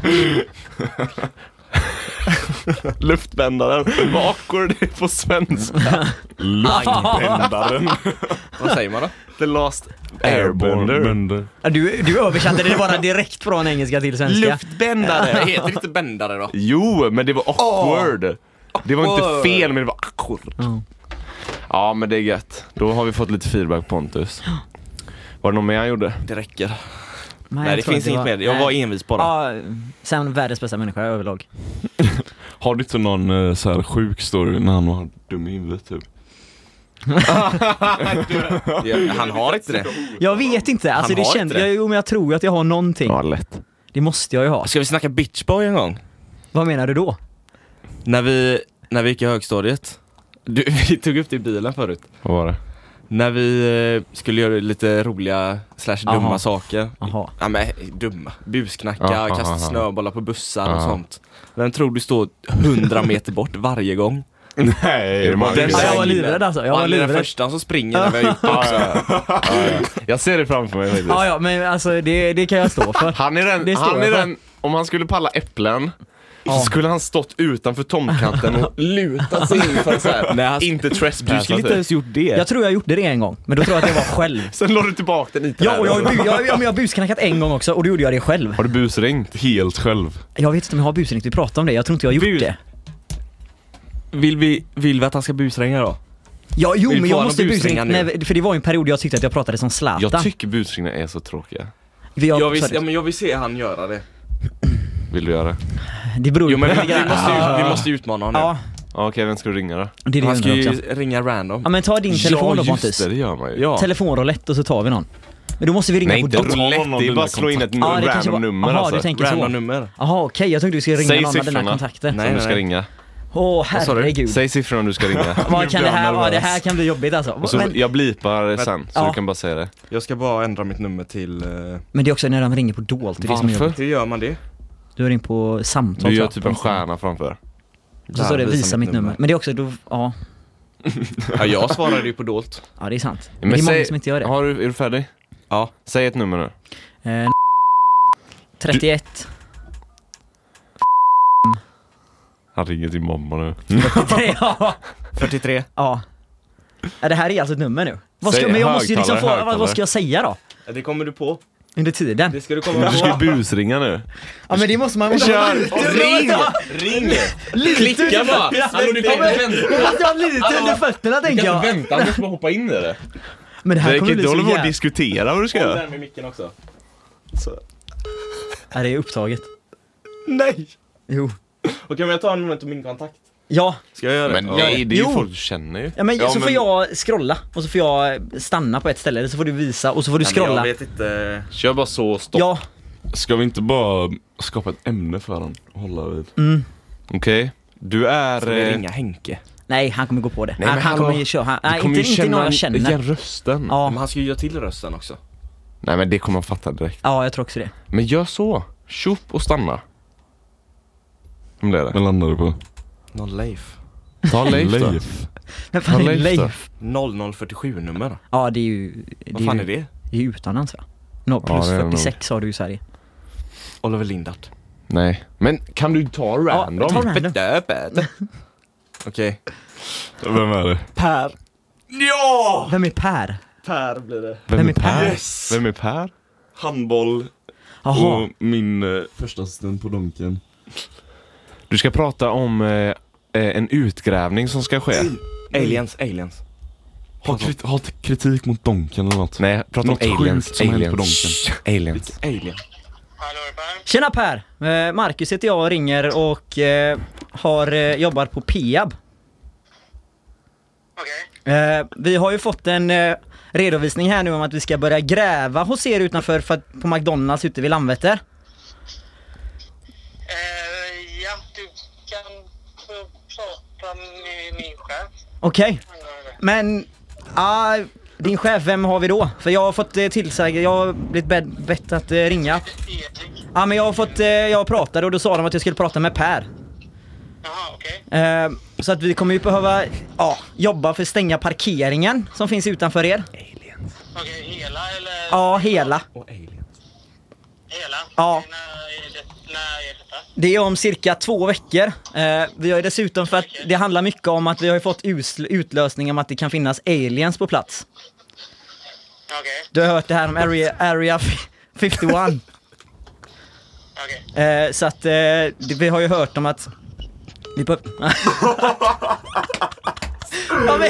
Speaker 2: Luftbändaren, vad awkward det är på svenska
Speaker 4: Luftbändaren.
Speaker 1: Vad säger man då?
Speaker 2: The last airbender
Speaker 4: Bänder.
Speaker 3: Ja, Du, du översatte det bara direkt från engelska till svenska.
Speaker 1: Det
Speaker 2: Luftbändare!
Speaker 1: heter inte bändare då?
Speaker 2: Eh, Jo, men det var awkward! Det var inte
Speaker 1: Awkward.
Speaker 2: fel, men det var awkward
Speaker 3: Ja.
Speaker 2: Ja, men det är gött. Då har vi fått lite feedback Pontus Var det något mer han gjorde?
Speaker 1: Det räcker. Nej,
Speaker 3: Nej,
Speaker 1: det finns inget mer. Jag var envis bara.
Speaker 3: Ja, sen världens bästa människa överlag.
Speaker 4: Har du inte någon eh, så här sjuk story när han var dum i huvudet typ?
Speaker 1: Det- Han har inte det.
Speaker 3: Jag vet inte, alltså
Speaker 1: Han
Speaker 3: det
Speaker 1: har
Speaker 3: känns,
Speaker 1: inte det.
Speaker 3: jag, jo men jag tror ju att jag har någonting.
Speaker 2: lätt
Speaker 3: Det måste jag ju ha.
Speaker 1: Ska vi snacka bitchboy en gång?
Speaker 3: Vad menar du då?
Speaker 1: När vi, när vi gick i högstadiet. Du, vi tog upp det i bilen förut.
Speaker 2: Vad var det?
Speaker 1: När vi eh, skulle göra lite roliga slash dumma
Speaker 3: Aha.
Speaker 1: saker.
Speaker 3: Jaha.
Speaker 1: Ja men dumma. Busknacka,
Speaker 2: Ja, ja,
Speaker 1: kasta
Speaker 2: ja.
Speaker 1: snöbollar på bussar och
Speaker 2: Ja.
Speaker 1: sånt. Vem tror du står 100 meter bort varje gång?
Speaker 4: Nej,
Speaker 2: det man
Speaker 4: den-
Speaker 2: vill?
Speaker 3: Ja, jag var
Speaker 1: Sängen.
Speaker 3: livrädd alltså, jag
Speaker 1: Och
Speaker 3: var
Speaker 1: han är den
Speaker 3: livrädd.
Speaker 1: första som springer när vi har gjort det också.
Speaker 2: Jag ser det framför mig faktiskt
Speaker 3: Ja, ja, men alltså det, det kan jag stå för.
Speaker 2: Han är den,
Speaker 3: Det står
Speaker 2: han
Speaker 3: jag
Speaker 2: är
Speaker 3: för.
Speaker 2: den om han skulle palla äpplen så skulle han stått utanför tomkanten och lutat sig in för att så här,
Speaker 1: Nej, han-
Speaker 2: inte trespassa
Speaker 1: Du skulle inte
Speaker 2: typ.
Speaker 1: ens gjort det.
Speaker 3: Jag tror jag gjorde det en gång, men då tror jag att jag var själv.
Speaker 2: Sen la du tillbaka den i
Speaker 3: Ja, och jag,
Speaker 2: trädet.
Speaker 3: har bu- jag, jag, men jag har busknackat en gång också och då gjorde jag det själv.
Speaker 2: Har du busringt?
Speaker 4: Helt själv.
Speaker 3: Jag vet inte om jag har busringt, vi pratade om det, jag tror inte jag har gjort
Speaker 1: Bus-
Speaker 3: det.
Speaker 1: Vill, vi, vill vi att han ska busringa då?
Speaker 3: Ja, jo
Speaker 1: Vill
Speaker 3: men
Speaker 1: få
Speaker 3: jag
Speaker 1: honom
Speaker 3: måste busringa
Speaker 1: busringa nu?
Speaker 3: nej, för det var ju en period jag tyckte att jag pratade som Zlatan.
Speaker 2: Jag tycker busringar är så tråkiga.
Speaker 3: För jag-
Speaker 1: Jag vill,
Speaker 3: sorry.
Speaker 1: ja, men jag vill se han göra det.
Speaker 2: Vill du göra det?
Speaker 3: Det beror ju
Speaker 1: Jo
Speaker 3: på
Speaker 1: men vi,
Speaker 3: lite
Speaker 1: vi,
Speaker 3: grann.
Speaker 1: måste, ju- vi måste ju utmana honom.
Speaker 3: Ja,
Speaker 2: Ja, Okej, vem ska du ringa då?
Speaker 3: det är det jag
Speaker 1: han ska
Speaker 3: undrar
Speaker 1: ju
Speaker 3: också.
Speaker 1: ringa random.
Speaker 3: Ja men ta din telefon då
Speaker 2: ja,
Speaker 3: Pontus.
Speaker 2: just det, det gör man ju.
Speaker 1: Ja.
Speaker 3: Telefonroulette och så tar vi någon. Men då måste vi ringa
Speaker 2: Nej,
Speaker 3: på
Speaker 2: inte
Speaker 3: din-
Speaker 2: roulette,
Speaker 4: någon av
Speaker 2: det är
Speaker 4: dina
Speaker 2: bara att slå in ett
Speaker 3: Ja, det kanske
Speaker 2: random
Speaker 3: var-
Speaker 2: nummer
Speaker 3: Aha,
Speaker 2: alltså.
Speaker 3: du tänker så.
Speaker 1: Random nummer.
Speaker 3: Jaha okej, jag trodde du skulle ringa
Speaker 2: Säg
Speaker 3: någon av dina
Speaker 2: siffrorna.
Speaker 3: kontakter.
Speaker 1: Nej,
Speaker 2: Som du
Speaker 1: nej,
Speaker 2: ska
Speaker 1: nej.
Speaker 2: ringa.
Speaker 3: Åh
Speaker 1: sa du?
Speaker 3: herregud.
Speaker 2: Säg siffrorna du ska ringa.
Speaker 3: Vad kan det här,
Speaker 4: jag
Speaker 3: ja, det
Speaker 4: nervös.
Speaker 3: här kan bli jobbigt alltså.
Speaker 2: Och så,
Speaker 3: Men,
Speaker 2: jag blipar sen, så
Speaker 3: Ja.
Speaker 2: du kan bara säga det.
Speaker 1: Jag ska bara ändra mitt nummer till... eh,
Speaker 3: men det är också när de ringer på dolt, det är det som är jobbigt.
Speaker 1: Hur gör man det?
Speaker 3: Du har ringt på samtal
Speaker 2: Du gör
Speaker 3: tror jag,
Speaker 2: typ
Speaker 3: på
Speaker 2: en
Speaker 3: Instagram.
Speaker 2: stjärna framför.
Speaker 3: Och så står det visa mitt nummer. Men det är också, då, ja,
Speaker 1: Ja, jag svarade ju på dolt.
Speaker 3: ja det är sant. Men, det är många som inte gör det.
Speaker 2: Har du, är du färdig?
Speaker 1: Ja.
Speaker 2: Säg ett nummer nu.
Speaker 3: Eh, 31,
Speaker 4: Han ringer till mamma nu.
Speaker 3: 43, ja.
Speaker 1: 43.
Speaker 3: Ja. Ja, Det här är alltså ett nummer nu. Vad ska,
Speaker 2: Säg
Speaker 3: men jag måste ju liksom få,
Speaker 2: högtalare,
Speaker 3: vad, vad
Speaker 2: högtalare.
Speaker 3: ska jag säga då?
Speaker 1: Det kommer du på.
Speaker 3: Under tiden?
Speaker 1: Det ska du komma
Speaker 2: Du ska ju
Speaker 1: på.
Speaker 2: busringa nu.
Speaker 3: Ja men det måste man... Måste Kör! Ring!
Speaker 1: Ring!
Speaker 3: Lite
Speaker 1: Klicka bara! Hallå, du kan inte vänta.
Speaker 3: Fast jag har lite under fötterna tänker jag.
Speaker 2: vänta, du måste bara hoppa in i det.
Speaker 3: Men det här
Speaker 2: Du kan
Speaker 3: kommer bli
Speaker 2: inte
Speaker 3: så
Speaker 2: hålla på och
Speaker 3: jävla...
Speaker 2: diskutera vad du ska
Speaker 1: Håll
Speaker 2: göra.
Speaker 1: där med micken också.
Speaker 3: Ja, det är upptaget.
Speaker 1: Nej!
Speaker 3: Jo.
Speaker 1: Okej, men jag tar en moment om min kontakt.
Speaker 3: Ja,
Speaker 1: Ska jag göra det?
Speaker 2: Men nej, det är ju
Speaker 3: Jo.
Speaker 2: folk du känner ju.
Speaker 3: ja men så får
Speaker 2: men-
Speaker 3: jag scrolla och så får jag stanna på ett ställe, eller så får du visa och så får du
Speaker 1: Jag
Speaker 3: scrolla.
Speaker 1: vet inte.
Speaker 2: Kör bara så och stopp.
Speaker 3: Ja,
Speaker 4: Ska vi inte bara skapa ett ämne för honom att hålla vid?
Speaker 2: Okej. Du är...
Speaker 1: Ska vi
Speaker 2: eh,
Speaker 1: ringa Henke?
Speaker 3: nej han kommer gå på det.
Speaker 2: men
Speaker 3: han, han
Speaker 2: hallå.
Speaker 3: kommer ju köra, han, nej
Speaker 2: kommer
Speaker 3: inte,
Speaker 2: ju
Speaker 3: inte någon jag känner.
Speaker 2: igen rösten.
Speaker 1: Men
Speaker 3: Ja.
Speaker 1: han ska ju göra till rösten också.
Speaker 2: Nej men det kommer han fatta direkt.
Speaker 3: ja, jag tror också det.
Speaker 2: Men gör så. Tjopp och stanna. Om det är det.
Speaker 4: Vad landar du på?
Speaker 1: Någon Leif.
Speaker 2: Ta Leif då.
Speaker 3: Vem fan är
Speaker 4: Vad Leif då?
Speaker 3: Leif?
Speaker 1: 0047 nummer.
Speaker 3: Ja det är ju... Det
Speaker 1: Vad fan
Speaker 3: ju,
Speaker 1: är det?
Speaker 3: Det är ju utomlands va? Nå,
Speaker 4: Ja,
Speaker 3: plus
Speaker 4: det är det nog.
Speaker 3: 46 har du i Sverige.
Speaker 1: Oliver Lindart.
Speaker 2: Nej. Men kan du ta random?
Speaker 3: ta random.
Speaker 1: Bedöpet. Okej.
Speaker 4: Vem är det?
Speaker 1: Per. Ja!
Speaker 3: Vem är Per?
Speaker 1: Per blir det.
Speaker 4: Vem,
Speaker 3: är Per?
Speaker 4: Yes! Vem är Per? Handboll
Speaker 3: Jaha.
Speaker 4: och min eh, första assistent på Donken.
Speaker 2: Du ska prata om eh, eh, en utgrävning som ska ske.
Speaker 1: Aliens, aliens.
Speaker 4: Ha, krit- ha t- kritik mot Donken eller något.
Speaker 2: Nej, prata om
Speaker 4: Något
Speaker 2: aliens.
Speaker 4: sjukt som hänt på
Speaker 2: aliens. aliens.
Speaker 1: Alien.
Speaker 3: Tjena Per! Eh, Marcus heter jag och ringer och eh, har, eh, jobbar på Peab. Eh, vi har ju fått en eh, redovisning här nu om att vi ska börja gräva hos er utanför för att, på McDonalds ute vid Landvetter.
Speaker 6: Eh, ja, du kan få prata med min chef.
Speaker 3: Okej, men... Ah, din chef, vem har vi då? För jag har fått eh, tillsagd, jag har blivit bed- bett att eh, ringa.
Speaker 6: Erik.
Speaker 3: Ja ah, men jag har fått, eh, jag pratade och då sa de att jag skulle prata med Per.
Speaker 6: Jaha, okej.
Speaker 3: Eh, så att vi kommer ju behöva ja, jobba för att stänga parkeringen som finns utanför er.
Speaker 6: Okej, hela eller?
Speaker 3: Ja, hela.
Speaker 6: Hela?
Speaker 3: Ja.
Speaker 6: När är det- när är detta?
Speaker 3: Det är om cirka två veckor. Eh, vi har ju dessutom för att det handlar mycket om att vi har ju fått usl- utlösning om att det kan finnas aliens på plats.
Speaker 6: Okej,
Speaker 3: Du har hört det här om Area, area 51.
Speaker 6: okej.
Speaker 3: Eh, så att eh, det- vi har ju hört om att... Vi på... ja, men,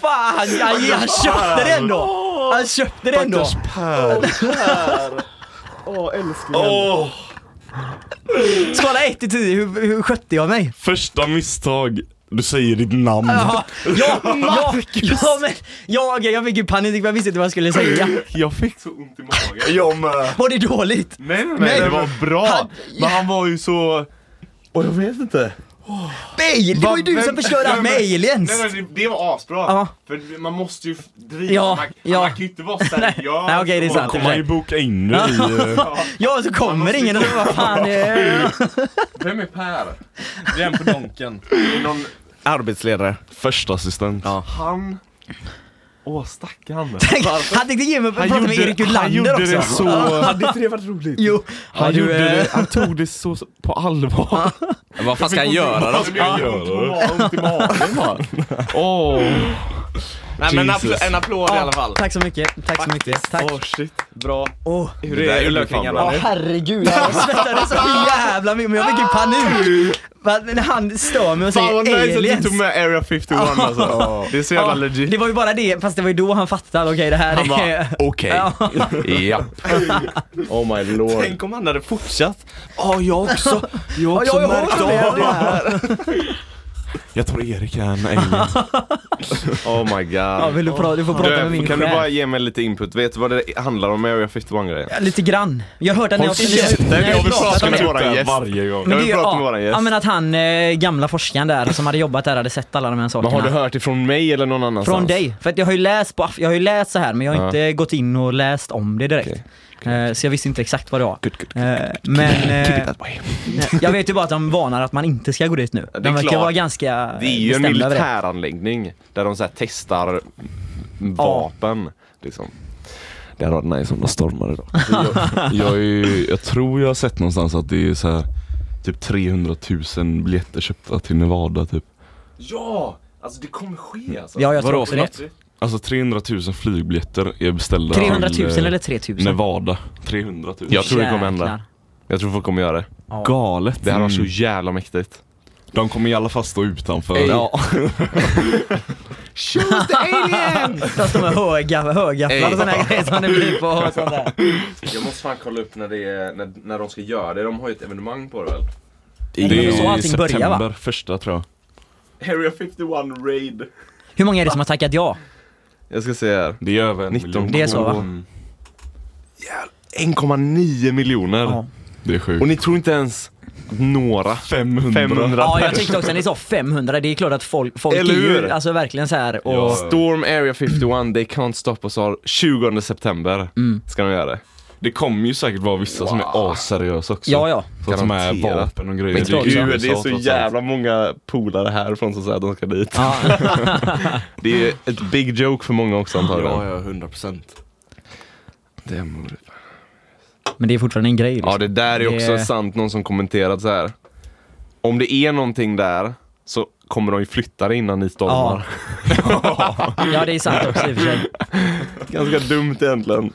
Speaker 3: fan, han, han, han köpte det ändå! Han köpte det ändå!
Speaker 4: Åh!
Speaker 3: Skala 1 till 10, hur, hur skötte jag mig?
Speaker 4: första misstag. Du säger ditt namn.
Speaker 3: Ja, ja, ja, ja, men, ja, okej, jag fick ju panik, jag visste inte vad jag skulle säga.
Speaker 4: Jag fick
Speaker 5: Så ont i magen.
Speaker 4: Jag med.
Speaker 3: Var det dåligt?
Speaker 4: Nej, nej,
Speaker 3: Nej.
Speaker 4: nej. Det var bra.
Speaker 3: Han-
Speaker 4: Men han var ju så... Och jag vet inte.
Speaker 3: Nej, det var ju du som förstörde allt med aliens!
Speaker 5: Nej, men det det var asbra.
Speaker 3: Ja.
Speaker 5: För man måste ju f- driva.
Speaker 3: Ja,
Speaker 5: man,
Speaker 3: ja.
Speaker 5: man kan ju inte vara seriös.
Speaker 3: Nej, okej, det är
Speaker 5: och-
Speaker 3: sant.
Speaker 4: Kommer han ju boka in dig i... eh,
Speaker 3: Ja, så kommer ingen och vad fan eh,
Speaker 5: Vem är Per?
Speaker 1: Det är en på donken.
Speaker 5: Någon,
Speaker 1: Arbetsledare.
Speaker 4: Första assistent.
Speaker 1: Ja.
Speaker 5: han? Åh stackarn.
Speaker 3: Tänk, han tänkte ge mig att prata med Erik
Speaker 4: han
Speaker 3: Ulander
Speaker 4: gjorde
Speaker 3: också.
Speaker 4: det så...
Speaker 2: Hade inte det varit roligt?
Speaker 3: Jo,
Speaker 4: Han,
Speaker 3: har du,
Speaker 4: gjorde
Speaker 3: eh,
Speaker 4: det, han tog det så så på allvar.
Speaker 1: Vad fan ska han göra då?
Speaker 4: Vad ska jag göra?
Speaker 5: Ont i magen.
Speaker 4: Åh,
Speaker 1: Nej men en
Speaker 4: Jesus.
Speaker 1: applåd, en applåd i alla fall.
Speaker 3: Tack så mycket, tack så mycket, tack.
Speaker 1: Åh shit. Bra.
Speaker 3: Åh,
Speaker 1: Hur är
Speaker 3: ja,
Speaker 1: ulökringarna nu?
Speaker 3: herregud, jag svettades så jävla mycket, men jag fick ju panik. Va, När han stör mig och
Speaker 2: Fan vad
Speaker 3: säger
Speaker 2: nice att du
Speaker 3: aliens.
Speaker 2: tog med Area 51 alltså. Det är så jävla
Speaker 3: Ja,
Speaker 2: legit.
Speaker 3: det var ju bara det, fast det var ju då han fattade, okej det här
Speaker 2: bara,
Speaker 3: är...
Speaker 2: Okej.
Speaker 3: Ja.
Speaker 2: Ja. Oh my lord.
Speaker 1: Tänk om han hade fortsatt. Ja, jag också. Jag har
Speaker 3: Ja,
Speaker 1: också
Speaker 3: jag har
Speaker 1: märkt
Speaker 3: också
Speaker 1: av
Speaker 3: det
Speaker 1: det här.
Speaker 3: här.
Speaker 4: jag tror Erik är en alien.
Speaker 2: Oh my god.
Speaker 3: Ja, vill du, pra- du får prata med min
Speaker 2: du, kan du
Speaker 3: chef.
Speaker 2: bara ge mig lite input? Vet du vad det handlar om med Area 51-grejen?
Speaker 3: Ja, Lite grann. Jag har hört att ni har...
Speaker 2: Håll käften,
Speaker 3: ni har- ni har
Speaker 2: jag vill
Speaker 3: pratat
Speaker 2: prata
Speaker 3: om
Speaker 2: med
Speaker 3: det.
Speaker 2: våran
Speaker 4: Typ det
Speaker 2: gäst.
Speaker 4: Varje gång.
Speaker 2: Jag vill
Speaker 3: det-
Speaker 2: prata
Speaker 3: ja,
Speaker 2: med våran gäst.
Speaker 3: Ja men att han, eh, gamla forskaren där som hade jobbat där, hade sett alla de här sakerna.
Speaker 2: Men har du hört ifrån mig eller någon annanstans?
Speaker 3: Från dig. För att jag har ju läst på, Af- jag har ju läst så här men jag har
Speaker 2: Ja.
Speaker 3: inte gått in och läst om det direkt.
Speaker 2: Okej,
Speaker 3: Eh, Så jag visste inte exakt vad det var.
Speaker 2: Good, good, good.
Speaker 3: Eh, Men
Speaker 2: Keep it
Speaker 3: eh,
Speaker 2: that way.
Speaker 3: jag vet ju bara att de varnar att man inte ska gå dit nu.
Speaker 2: det
Speaker 3: De
Speaker 2: är
Speaker 3: verkar
Speaker 2: klart.
Speaker 3: vara ganska
Speaker 2: Det är ju en
Speaker 3: bestämda över det.
Speaker 2: militäranläggning där de så här testar vapen. Liksom. Det hade varit nice om de stormade då.
Speaker 4: Jag, jag, är, ju- jag tror jag har sett någonstans att det är så här typ 300 000 biljetter köpta till Nevada typ.
Speaker 5: Ja! Alltså det kommer ske alltså.
Speaker 3: Ja jag tror
Speaker 1: Vadå
Speaker 3: också
Speaker 1: för
Speaker 3: det.
Speaker 4: Alltså 300 000 flygbiljetter är beställda
Speaker 3: 300
Speaker 4: till,
Speaker 3: 000
Speaker 4: eh,
Speaker 3: eller 3 000?
Speaker 4: Nevada. 300 000.
Speaker 2: Jag tror det kommer
Speaker 3: Jäklar.
Speaker 2: hända. Jag tror folk kommer göra det.
Speaker 4: Galet.
Speaker 2: Det här var så
Speaker 4: Mm.
Speaker 2: jävla mäktigt.
Speaker 4: De kommer i alla fall stå utanför.
Speaker 2: Ja. Shoot the alien!
Speaker 3: De står med höga, högafflar och sådana här grejer som det blir på och sånt där.
Speaker 5: Jag måste fan kolla upp när, det är, när, när de ska göra det. De har ju ett evenemang på det väl?
Speaker 4: Det
Speaker 3: Det var
Speaker 4: är
Speaker 3: så
Speaker 4: i
Speaker 3: allting började,
Speaker 4: september,
Speaker 3: va?
Speaker 4: första tror jag.
Speaker 5: Area 51 Raid.
Speaker 3: Hur många är det som har tackat ja?
Speaker 2: Jag ska se här.
Speaker 4: Det är över en
Speaker 2: 19
Speaker 4: miljon.
Speaker 3: Det är så, va?
Speaker 4: Mm.
Speaker 2: 1,9 miljoner.
Speaker 3: Ja.
Speaker 4: Det är sjukt.
Speaker 2: Och ni tror inte ens att några
Speaker 4: 500.
Speaker 2: 500
Speaker 3: Ja, jag tyckte också när ni sa 500, det är klart att folk, folk är
Speaker 2: Eller
Speaker 3: ju
Speaker 2: hur?
Speaker 3: alltså verkligen så här och
Speaker 4: Ja.
Speaker 3: Mm.
Speaker 2: Storm Area 51, They Can't Stop Us har 20 september ska de göra det.
Speaker 4: Det kommer ju säkert vara vissa som är asseriösa också.
Speaker 3: Ja, ja.
Speaker 4: Så att de är
Speaker 2: Garanterat.
Speaker 4: vapen och grejer.
Speaker 3: Men
Speaker 4: Det är
Speaker 3: Gud,
Speaker 4: ju
Speaker 2: Gud, det är
Speaker 4: USA,
Speaker 2: så
Speaker 4: trots allt.
Speaker 2: jävla många polare härifrån som säger att de ska dit. Det är ju ett big joke för många också antagligen.
Speaker 1: Ja, ja, 100 procent.
Speaker 2: Det är mor-
Speaker 3: Men det är fortfarande en grej liksom.
Speaker 2: Ja det där är också
Speaker 3: Det-
Speaker 2: sant, någon som kommenterat så här. Om det är någonting där så kommer de ju flytta det innan ni stormar.
Speaker 3: ja, det är sant också i och för sig.
Speaker 2: Ganska dumt egentligen.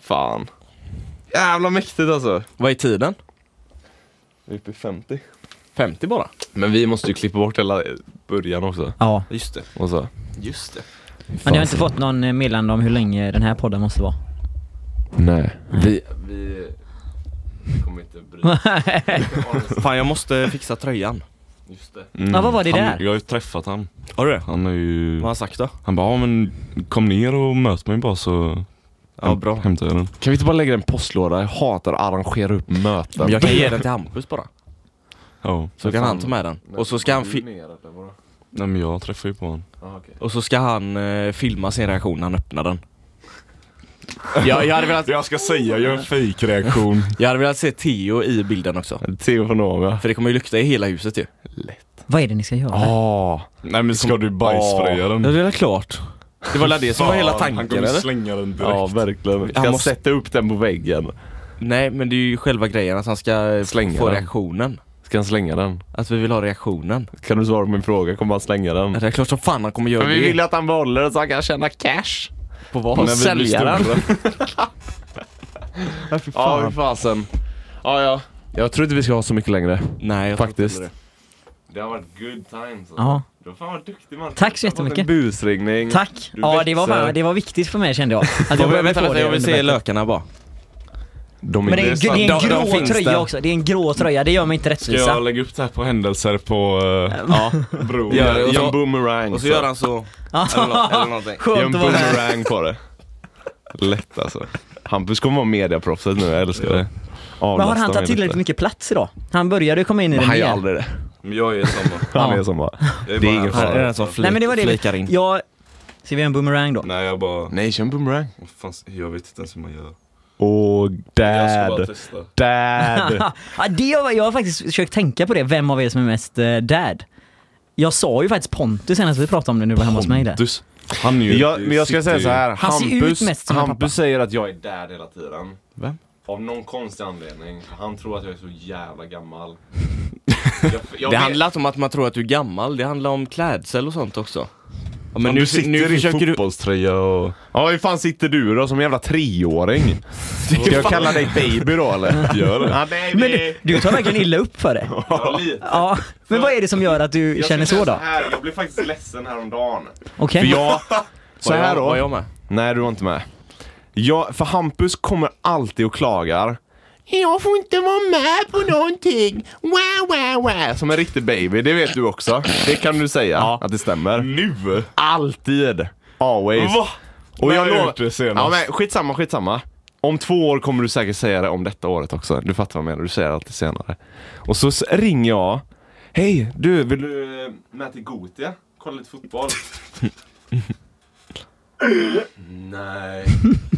Speaker 2: Fan. Jävla mäktigt alltså.
Speaker 1: Vad är tiden?
Speaker 2: Vi är uppe i 50.
Speaker 1: 50 bara?
Speaker 2: Men vi måste ju klippa bort hela början också.
Speaker 3: Ja.
Speaker 1: Just det.
Speaker 2: Och så.
Speaker 1: Just det.
Speaker 3: Men ni har inte fått någon eh, meddelande om hur länge den här podden måste vara?
Speaker 2: Nej.
Speaker 1: Vi...
Speaker 5: Vi eh, kommer inte bry oss.
Speaker 1: Fan, jag måste fixa tröjan.
Speaker 5: Just det.
Speaker 4: Mm.
Speaker 3: Ja, vad var det
Speaker 4: han,
Speaker 3: där?
Speaker 4: Jag har ju träffat han.
Speaker 1: Har du det?
Speaker 4: Han är ju...
Speaker 1: Vad har han sagt då?
Speaker 4: Han bara, ja men kom ner och möt mig bara så
Speaker 1: Ja, bra.
Speaker 4: hämtar jag den.
Speaker 2: Kan vi inte bara lägga en postlåda? Jag hatar att arrangera upp möten.
Speaker 1: Men jag kan ge den till Hampus bara.
Speaker 4: Ja.
Speaker 1: Så kan han ta med den. Och så ska han, fi-
Speaker 4: Nej men jag träffar ju på honom.
Speaker 1: och så ska han eh, filma sin reaktion när han öppnar den. Jag, jag, hade velat,
Speaker 4: Jag ska säga, jag är en fejkreaktion.
Speaker 1: jag hade velat se Theo i bilden också.
Speaker 2: Theo från Åmia.
Speaker 1: För det kommer ju lukta i hela huset ju.
Speaker 3: Vad är det ni ska göra?
Speaker 2: Åh.
Speaker 4: Nej men ska du bajsfröja den?
Speaker 1: det är klart. Mm. Det var väl det som var hela
Speaker 4: Han
Speaker 1: tanken
Speaker 4: kommer
Speaker 1: eller?
Speaker 4: slänga den direkt.
Speaker 2: Ja verkligen. Ska han
Speaker 1: måste-
Speaker 2: sätta upp den på väggen?
Speaker 1: Nej men det är ju själva grejen att han ska eh,
Speaker 2: Slänga
Speaker 1: få
Speaker 2: den.
Speaker 1: reaktionen.
Speaker 2: Ska han slänga den?
Speaker 1: Att vi vill ha reaktionen.
Speaker 2: Kan du svara på min fråga? Kommer han slänga den?
Speaker 1: Det är klart som fan han kommer göra
Speaker 2: Men vi
Speaker 1: det.
Speaker 2: vill att han behåller den så han kan tjäna cash.
Speaker 1: på vad?
Speaker 4: När vi blir
Speaker 1: Sälja den.
Speaker 4: stora.
Speaker 2: Ja, fy fasen. Ja, ja. Jag tror inte vi ska ha så mycket längre.
Speaker 1: Nej jag
Speaker 2: Faktiskt.
Speaker 1: tror inte
Speaker 5: Det har varit good times. alltså.
Speaker 3: Ja.
Speaker 5: Du var fan vad duktig man.
Speaker 3: Tack så
Speaker 2: En
Speaker 3: jättemycket.
Speaker 2: busringning.
Speaker 3: Tack!
Speaker 2: Du
Speaker 3: Ja, det var,
Speaker 2: växer.
Speaker 3: fan, det var viktigt för mig kände jag. Att
Speaker 1: det.
Speaker 3: behöver
Speaker 1: Jag, vänta,
Speaker 3: få
Speaker 1: vänta,
Speaker 3: det
Speaker 1: jag vill se
Speaker 3: underlättat.
Speaker 1: lökarna bara.
Speaker 2: De
Speaker 3: Men det är, en- det är en
Speaker 1: De- de
Speaker 3: grå
Speaker 1: finns
Speaker 3: tröja
Speaker 1: där.
Speaker 3: också, det är en grå tröja, det gör mig inte
Speaker 4: Ska jag
Speaker 3: rättvisa.
Speaker 4: lägga upp det här på händelser på eh,
Speaker 1: Ja.
Speaker 4: bron?
Speaker 1: Gör det. Och
Speaker 2: Gör en
Speaker 1: så-
Speaker 2: boomerang.
Speaker 1: Och så gör han så. Eller, nå- eller någonting.
Speaker 2: Gör en
Speaker 3: Skönt att vara med.
Speaker 2: boomerang på det. Lätt alltså. Hampus kommer vara mediaproffset nu, jag älskar det.
Speaker 3: Men har han tagit tillräckligt mycket plats idag? Han började ju komma in i det
Speaker 2: Han gör
Speaker 3: mer.
Speaker 2: aldrig det.
Speaker 4: Men jag är samma.
Speaker 2: Han
Speaker 3: Ja.
Speaker 2: är som bara.
Speaker 4: Jag är
Speaker 2: Det är
Speaker 4: bara
Speaker 2: ingen
Speaker 4: här.
Speaker 1: Här är den som
Speaker 3: Nej men
Speaker 1: flik,
Speaker 3: det var
Speaker 1: flikar
Speaker 3: det.
Speaker 1: in.
Speaker 3: Jag... Ska vi göra en boomerang då?
Speaker 4: Nej jag bara,
Speaker 2: Nej, kör en boomerang.
Speaker 4: Vad fan, jag vet inte ens hur man gör.
Speaker 2: Och
Speaker 4: Jag ska bara
Speaker 2: dad.
Speaker 4: testa.
Speaker 2: Dad.
Speaker 3: Ja, det har, jag har faktiskt försökt tänka på det, vem av er som är mest eh, dad? Jag sa ju faktiskt Pontus senast vi pratade om det nu var hemma hos mig där.
Speaker 4: Pontus, han är ju...
Speaker 2: Jag, men jag ska säga så här.
Speaker 3: Han ser ut
Speaker 2: Hampus,
Speaker 3: mest som en pappa.
Speaker 2: Hampus säger att jag är
Speaker 5: Jag är där hela tiden.
Speaker 2: Vem?
Speaker 5: Av någon konstig anledning. Han tror att jag är så jävla gammal. Jag, jag
Speaker 1: Det
Speaker 5: vet-
Speaker 1: handlar inte om att man tror att du är gammal, det handlar om klädsel och sånt också. Ja, men
Speaker 4: Men
Speaker 1: nu,
Speaker 4: du sitter
Speaker 1: nu
Speaker 4: i
Speaker 1: försöker du...
Speaker 4: fotbollströja och...
Speaker 2: Ja, hur fan sitter du då som en jävla treåring? Ska jag kalla dig baby då eller?
Speaker 4: Gör det.
Speaker 2: Ja, baby!
Speaker 3: Men du, du tar verkligen illa upp för det.
Speaker 5: Ja, lite.
Speaker 3: Ja, men vad är det som gör att du
Speaker 5: Jag
Speaker 3: känner
Speaker 5: ska säga
Speaker 3: så då?
Speaker 5: Här, jag blev faktiskt ledsen häromdagen.
Speaker 3: Okej?
Speaker 2: För jag... Så
Speaker 1: Var jag-
Speaker 2: här då.
Speaker 1: Var jag med?
Speaker 2: Nej, du var inte med. Jag, för Hampus kommer alltid och klagar. Jag får inte vara med på någonting. Wah, wah, wah. Som en riktig baby, det vet du också. Det kan du säga att det stämmer.
Speaker 4: Nu?
Speaker 2: Alltid. Always.
Speaker 4: Va?
Speaker 2: Och
Speaker 4: När
Speaker 2: jag
Speaker 4: har du
Speaker 2: lovar...
Speaker 4: gjort det senast?
Speaker 2: Ja, men skitsamma, skitsamma. Om två år kommer du säkert säga det om detta året också. Du fattar vad jag menar, du säger det alltid senare. Och så s- ringer jag. Hej, du, vill
Speaker 5: Vill
Speaker 2: du...
Speaker 5: du eh, med till Gothia? Kolla lite fotboll? nej,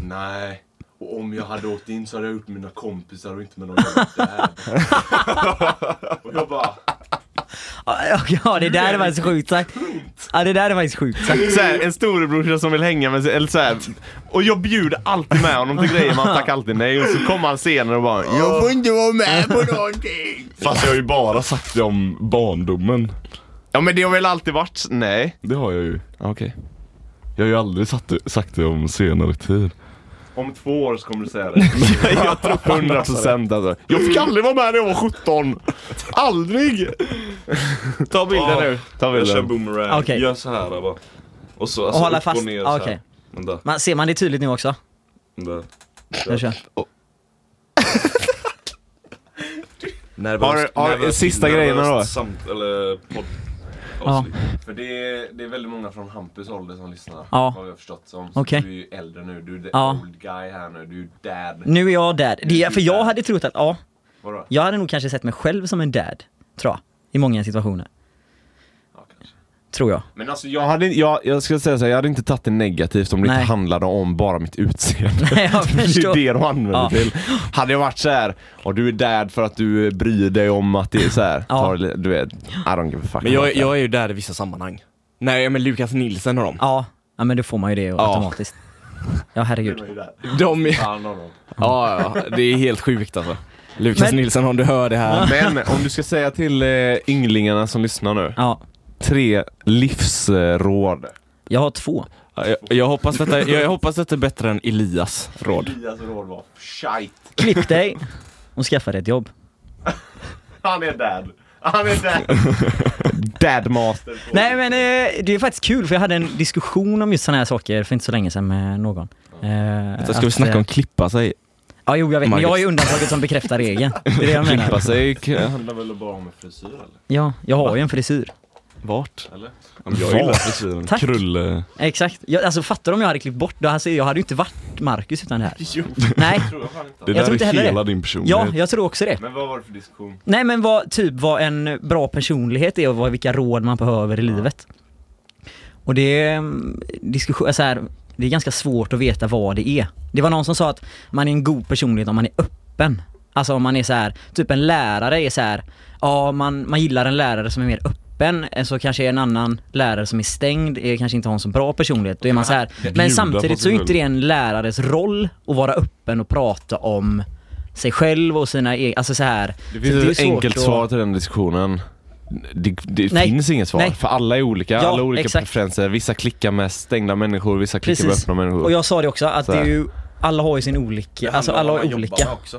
Speaker 5: nej. Och om jag hade åkt in så hade jag gjort med mina kompisar och inte med någon annan där. Och jag bara...
Speaker 3: Ja, det där är faktiskt sjukt sagt. Ja, det där är faktiskt sjukt sagt.
Speaker 2: Så här, en storebrorsa som vill hänga med sig, eller så här. Och jag bjuder alltid med honom till grejer, man tackar alltid nej. Och så kommer han senare och bara Jag får inte vara med på någonting.
Speaker 4: Fast jag har ju bara sagt det om barndomen.
Speaker 2: Ja men det har väl alltid varit, nej.
Speaker 4: Det har jag ju.
Speaker 2: Okej.
Speaker 4: Jag har ju aldrig sagt det, sagt det om senare tid.
Speaker 5: Om två år så kommer du säga det.
Speaker 2: 100 procent alltså. Jag fick aldrig vara med när jag var 17. Aldrig! Ta bilden nu. Ta
Speaker 4: Jag kör
Speaker 2: bilden.
Speaker 4: boomerang.
Speaker 3: Okej.
Speaker 4: Gör så här bara. Och så alltså,
Speaker 3: Och hålla
Speaker 4: upp
Speaker 3: fast.
Speaker 4: och ner
Speaker 3: Ah,
Speaker 4: så
Speaker 3: okej.
Speaker 4: här. Vänta,
Speaker 3: Man, ser man det tydligt nu också?
Speaker 4: vänta.
Speaker 3: Jag kör.
Speaker 2: Har du- har- sista grejerna då?
Speaker 4: Samt, eller podd.
Speaker 3: Ja.
Speaker 5: För det är, det är väldigt många från Hampus ålder som lyssnar.
Speaker 3: Ja.
Speaker 5: Har jag förstått som.
Speaker 3: Okej.
Speaker 5: Så du är ju äldre nu. Du är the
Speaker 3: Ja. Mm.
Speaker 5: old guy här nu. Du är dad.
Speaker 3: Nu är jag dad. Det är, för jag hade trott att, ja,
Speaker 5: Vadå?
Speaker 3: jag hade nog kanske sett mig själv som en dad. Tror jag. I många situationer.
Speaker 5: Ja, kanske.
Speaker 3: Tror jag.
Speaker 2: Men alltså jag hade, jag, jag ska säga så här, jag hade inte tagit det negativt om det
Speaker 3: Nej.
Speaker 2: inte handlade om bara mitt utseende.
Speaker 3: Nej, jag
Speaker 2: Det är
Speaker 3: förstår.
Speaker 2: ju det de använder
Speaker 3: Ja.
Speaker 2: till. Hade jag varit så här, och du är där för att du eh, bryr dig om att det är så här,
Speaker 3: Ja.
Speaker 2: tar, det li- du vet, I don't give a fuck.
Speaker 1: Men jag,
Speaker 2: about that.
Speaker 1: jag är ju där i vissa sammanhang. Nej men Lukas Nilsen och dem.
Speaker 3: Ja. ja, men då får man ju det automatiskt. Ja, herregud.
Speaker 1: De är...
Speaker 5: Fan honom.
Speaker 1: Ja, ja, det är helt sjukt alltså. Lukas
Speaker 3: Men-
Speaker 1: Nilsson om du hör det här.
Speaker 2: Men om du ska säga till eh, ynglingarna som lyssnar nu,
Speaker 3: Ja,
Speaker 2: tre livsråd.
Speaker 3: jag har två.
Speaker 1: Jag, jag, hoppas detta, jag, jag hoppas detta är bättre än Elias råd.
Speaker 5: Elias råd var shite.
Speaker 3: Klipp dig och skaffa dig ett jobb.
Speaker 5: Han är dad. Han är dad.
Speaker 2: Dadmaster.
Speaker 3: Nej men eh, det är faktiskt kul för jag hade en diskussion om just sådana här saker för inte så länge sedan med någon. Eh,
Speaker 1: Så ska vi
Speaker 3: att,
Speaker 1: snacka
Speaker 3: eh,
Speaker 1: om klippa sig.
Speaker 3: Ja jo jag vet, men jag är ju
Speaker 1: Marcus.
Speaker 3: undantaget som bekräftar regeln. Det är det jag menar.
Speaker 2: Klippa sig.
Speaker 5: Det handlar väl bara om en frisyr eller?
Speaker 3: Ja, jag har ju en frisyr.
Speaker 1: Vart?
Speaker 5: eller?
Speaker 4: Jag gillar frisyren.
Speaker 3: Tack.
Speaker 4: Krulle.
Speaker 3: Exakt. Jag, alltså fattar du om jag hade klippt bort det? Alltså, jag hade ju inte varit Marcus utan det här. Nej,
Speaker 5: Tror jag fan inte.
Speaker 4: Det
Speaker 3: tror
Speaker 4: där
Speaker 3: inte
Speaker 4: är
Speaker 3: heller
Speaker 4: hela
Speaker 3: det.
Speaker 4: din personlighet.
Speaker 3: ja jag tror också det.
Speaker 5: Men vad var det för diskussion?
Speaker 3: Nej men vad, typ vad en bra personlighet är och vad, vilka råd man behöver i livet. Och det är, mm, diskussion, så här, det är ganska svårt att veta vad det är. Det var någon som sa att man är en god personlighet om man är öppen. Alltså om man är så här, typ en lärare är så här, ja man, man gillar en lärare som är mer öppen, eh, så kanske en annan lärare som är stängd är kanske inte har en så bra personlighet. Då är man så här, men
Speaker 4: bjuda på
Speaker 3: samtidigt
Speaker 4: sig
Speaker 3: så är
Speaker 4: själv.
Speaker 3: inte det en lärares roll att vara öppen och prata om sig själv och sina egna, alltså så här.
Speaker 2: Det
Speaker 3: Så
Speaker 2: finns
Speaker 3: är
Speaker 2: ett
Speaker 3: svårt
Speaker 2: enkelt
Speaker 3: att-
Speaker 2: svar till den diskussionen. Det, det
Speaker 3: Nej.
Speaker 2: finns inget svar,
Speaker 3: Nej.
Speaker 2: för alla är olika,
Speaker 3: Ja,
Speaker 2: alla har olika
Speaker 3: exakt.
Speaker 2: preferenser. Vissa klickar med stängda människor, vissa klickar med
Speaker 3: Precis.
Speaker 2: öppna människor.
Speaker 3: Och jag sa det också, att
Speaker 2: Så
Speaker 3: det är
Speaker 2: här.
Speaker 3: ju, alla har ju sin olika, alltså alla har olika.
Speaker 1: också.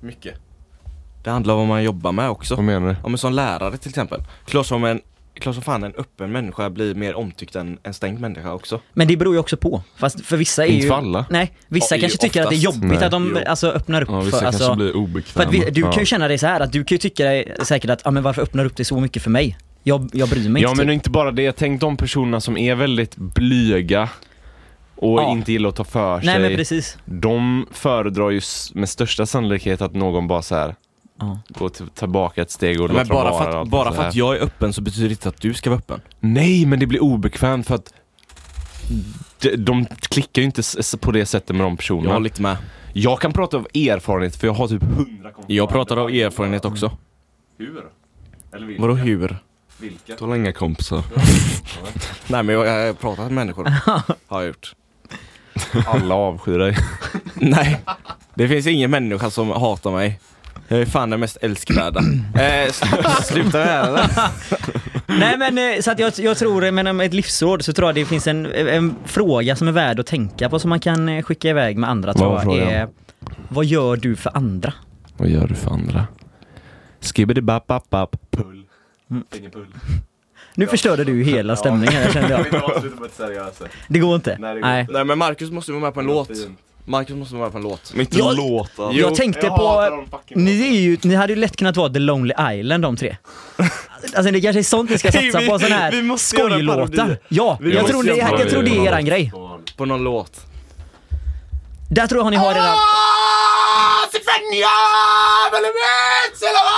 Speaker 1: Mycket. Det handlar om vad man jobbar med också.
Speaker 2: Vad menar du?
Speaker 1: Om en sån lärare till exempel. Klart som, en, klart som fan en öppen människa blir mer omtyckt än en stängd människa också.
Speaker 3: Men det beror ju också på. Fast för vissa är
Speaker 2: Inte
Speaker 3: ju...
Speaker 2: för alla.
Speaker 3: Nej, vissa
Speaker 1: Ja, det är
Speaker 3: kanske tycker att det är
Speaker 1: oftast-
Speaker 3: jobbigt
Speaker 2: Nej.
Speaker 3: att de alltså, öppnar upp
Speaker 4: Ja, vissa
Speaker 3: för, alltså,
Speaker 4: kanske blir
Speaker 3: för
Speaker 4: obekväma.
Speaker 3: att vi, du kan
Speaker 2: Ja.
Speaker 3: ju känna dig så här att du kan ju tycka dig säkert att, ja men varför öppnar du upp dig så mycket för mig? Jag, jag bryr mig
Speaker 2: Ja
Speaker 3: inte.
Speaker 2: men
Speaker 3: typ.
Speaker 2: inte bara det, tänk de personerna som är väldigt blyga och
Speaker 3: Ja.
Speaker 2: inte gillar att ta för sig.
Speaker 3: Nej men precis.
Speaker 2: De föredrar ju s- med största sannolikhet att någon bara så här
Speaker 3: Ja.
Speaker 2: går till- tillbaka ett steg och
Speaker 1: Men
Speaker 2: låter dem
Speaker 1: bara
Speaker 2: vara
Speaker 1: för
Speaker 2: och
Speaker 1: att,
Speaker 2: allt
Speaker 1: bara
Speaker 2: så
Speaker 1: för
Speaker 2: här.
Speaker 1: att jag är öppen så betyder det inte att du ska vara öppen.
Speaker 2: Nej men det blir obekvämt för att de, de klickar ju inte s- s- på det sättet med de
Speaker 1: Jag
Speaker 2: personerna.
Speaker 1: håller
Speaker 2: Jag,
Speaker 1: lite med.
Speaker 2: kan prata av erfarenhet för jag har typ
Speaker 5: Hundra kom-
Speaker 1: Jag pratar av erfarenhet också.
Speaker 5: Hur? Eller vilka?
Speaker 1: Vadå hur?
Speaker 5: Vilka?
Speaker 4: Du har inga kompisar.
Speaker 1: Nej men jag, jag har pratat med människor. Har jag gjort.
Speaker 2: alla avskyr dig.
Speaker 1: Nej, det finns ingen människa som hatar mig. Jag är fan den mest älskvärda. eh, s- sluta med det här eller?
Speaker 3: Nej men eh, så att jag, jag tror, men om ett livsråd så tror jag det finns en, en fråga som är värd att tänka på som man kan eh, skicka iväg med andra
Speaker 2: Vad var
Speaker 3: tror jag.
Speaker 2: frågan?
Speaker 3: Är, vad gör du för andra?
Speaker 2: Vad gör du för andra? Skibbidi bap bap bap
Speaker 5: Pull. Fingerpull.
Speaker 3: Nu förstörde du ju hela stämningen jag kände
Speaker 5: Jag
Speaker 3: jag.
Speaker 5: vill inte avsluta på ett seriöst sätt.
Speaker 3: Det går inte.
Speaker 5: Nej, det går
Speaker 3: Nej.
Speaker 5: inte.
Speaker 1: Nej men Marcus måste vara med på en
Speaker 5: Det var
Speaker 1: låt.
Speaker 5: fint.
Speaker 1: Marcus måste vara med på en låt.
Speaker 4: Men inte
Speaker 3: Jag-
Speaker 4: låtar.
Speaker 1: Jo,
Speaker 3: jag tänkte
Speaker 5: jag hatar
Speaker 3: på...
Speaker 5: de fucking
Speaker 3: Ni, är ju, ni hade ju lätt kunnat vara The Lonely Island de tre. Alltså det kanske är sånt ni ska satsa
Speaker 1: Vi-
Speaker 3: på, sån
Speaker 1: vi
Speaker 3: här
Speaker 1: måste göra en parodi.
Speaker 3: skojlåtar. Ja,
Speaker 1: Vi
Speaker 3: jag
Speaker 1: måste
Speaker 3: tror,
Speaker 1: göra
Speaker 3: det,
Speaker 1: en
Speaker 3: jag
Speaker 4: parodi.
Speaker 3: tror det är eran grej.
Speaker 5: Skål.
Speaker 1: På någon låt. Ah!
Speaker 3: Där tror jag ni har redan...
Speaker 2: Ah, Stefania! Velemets! Eller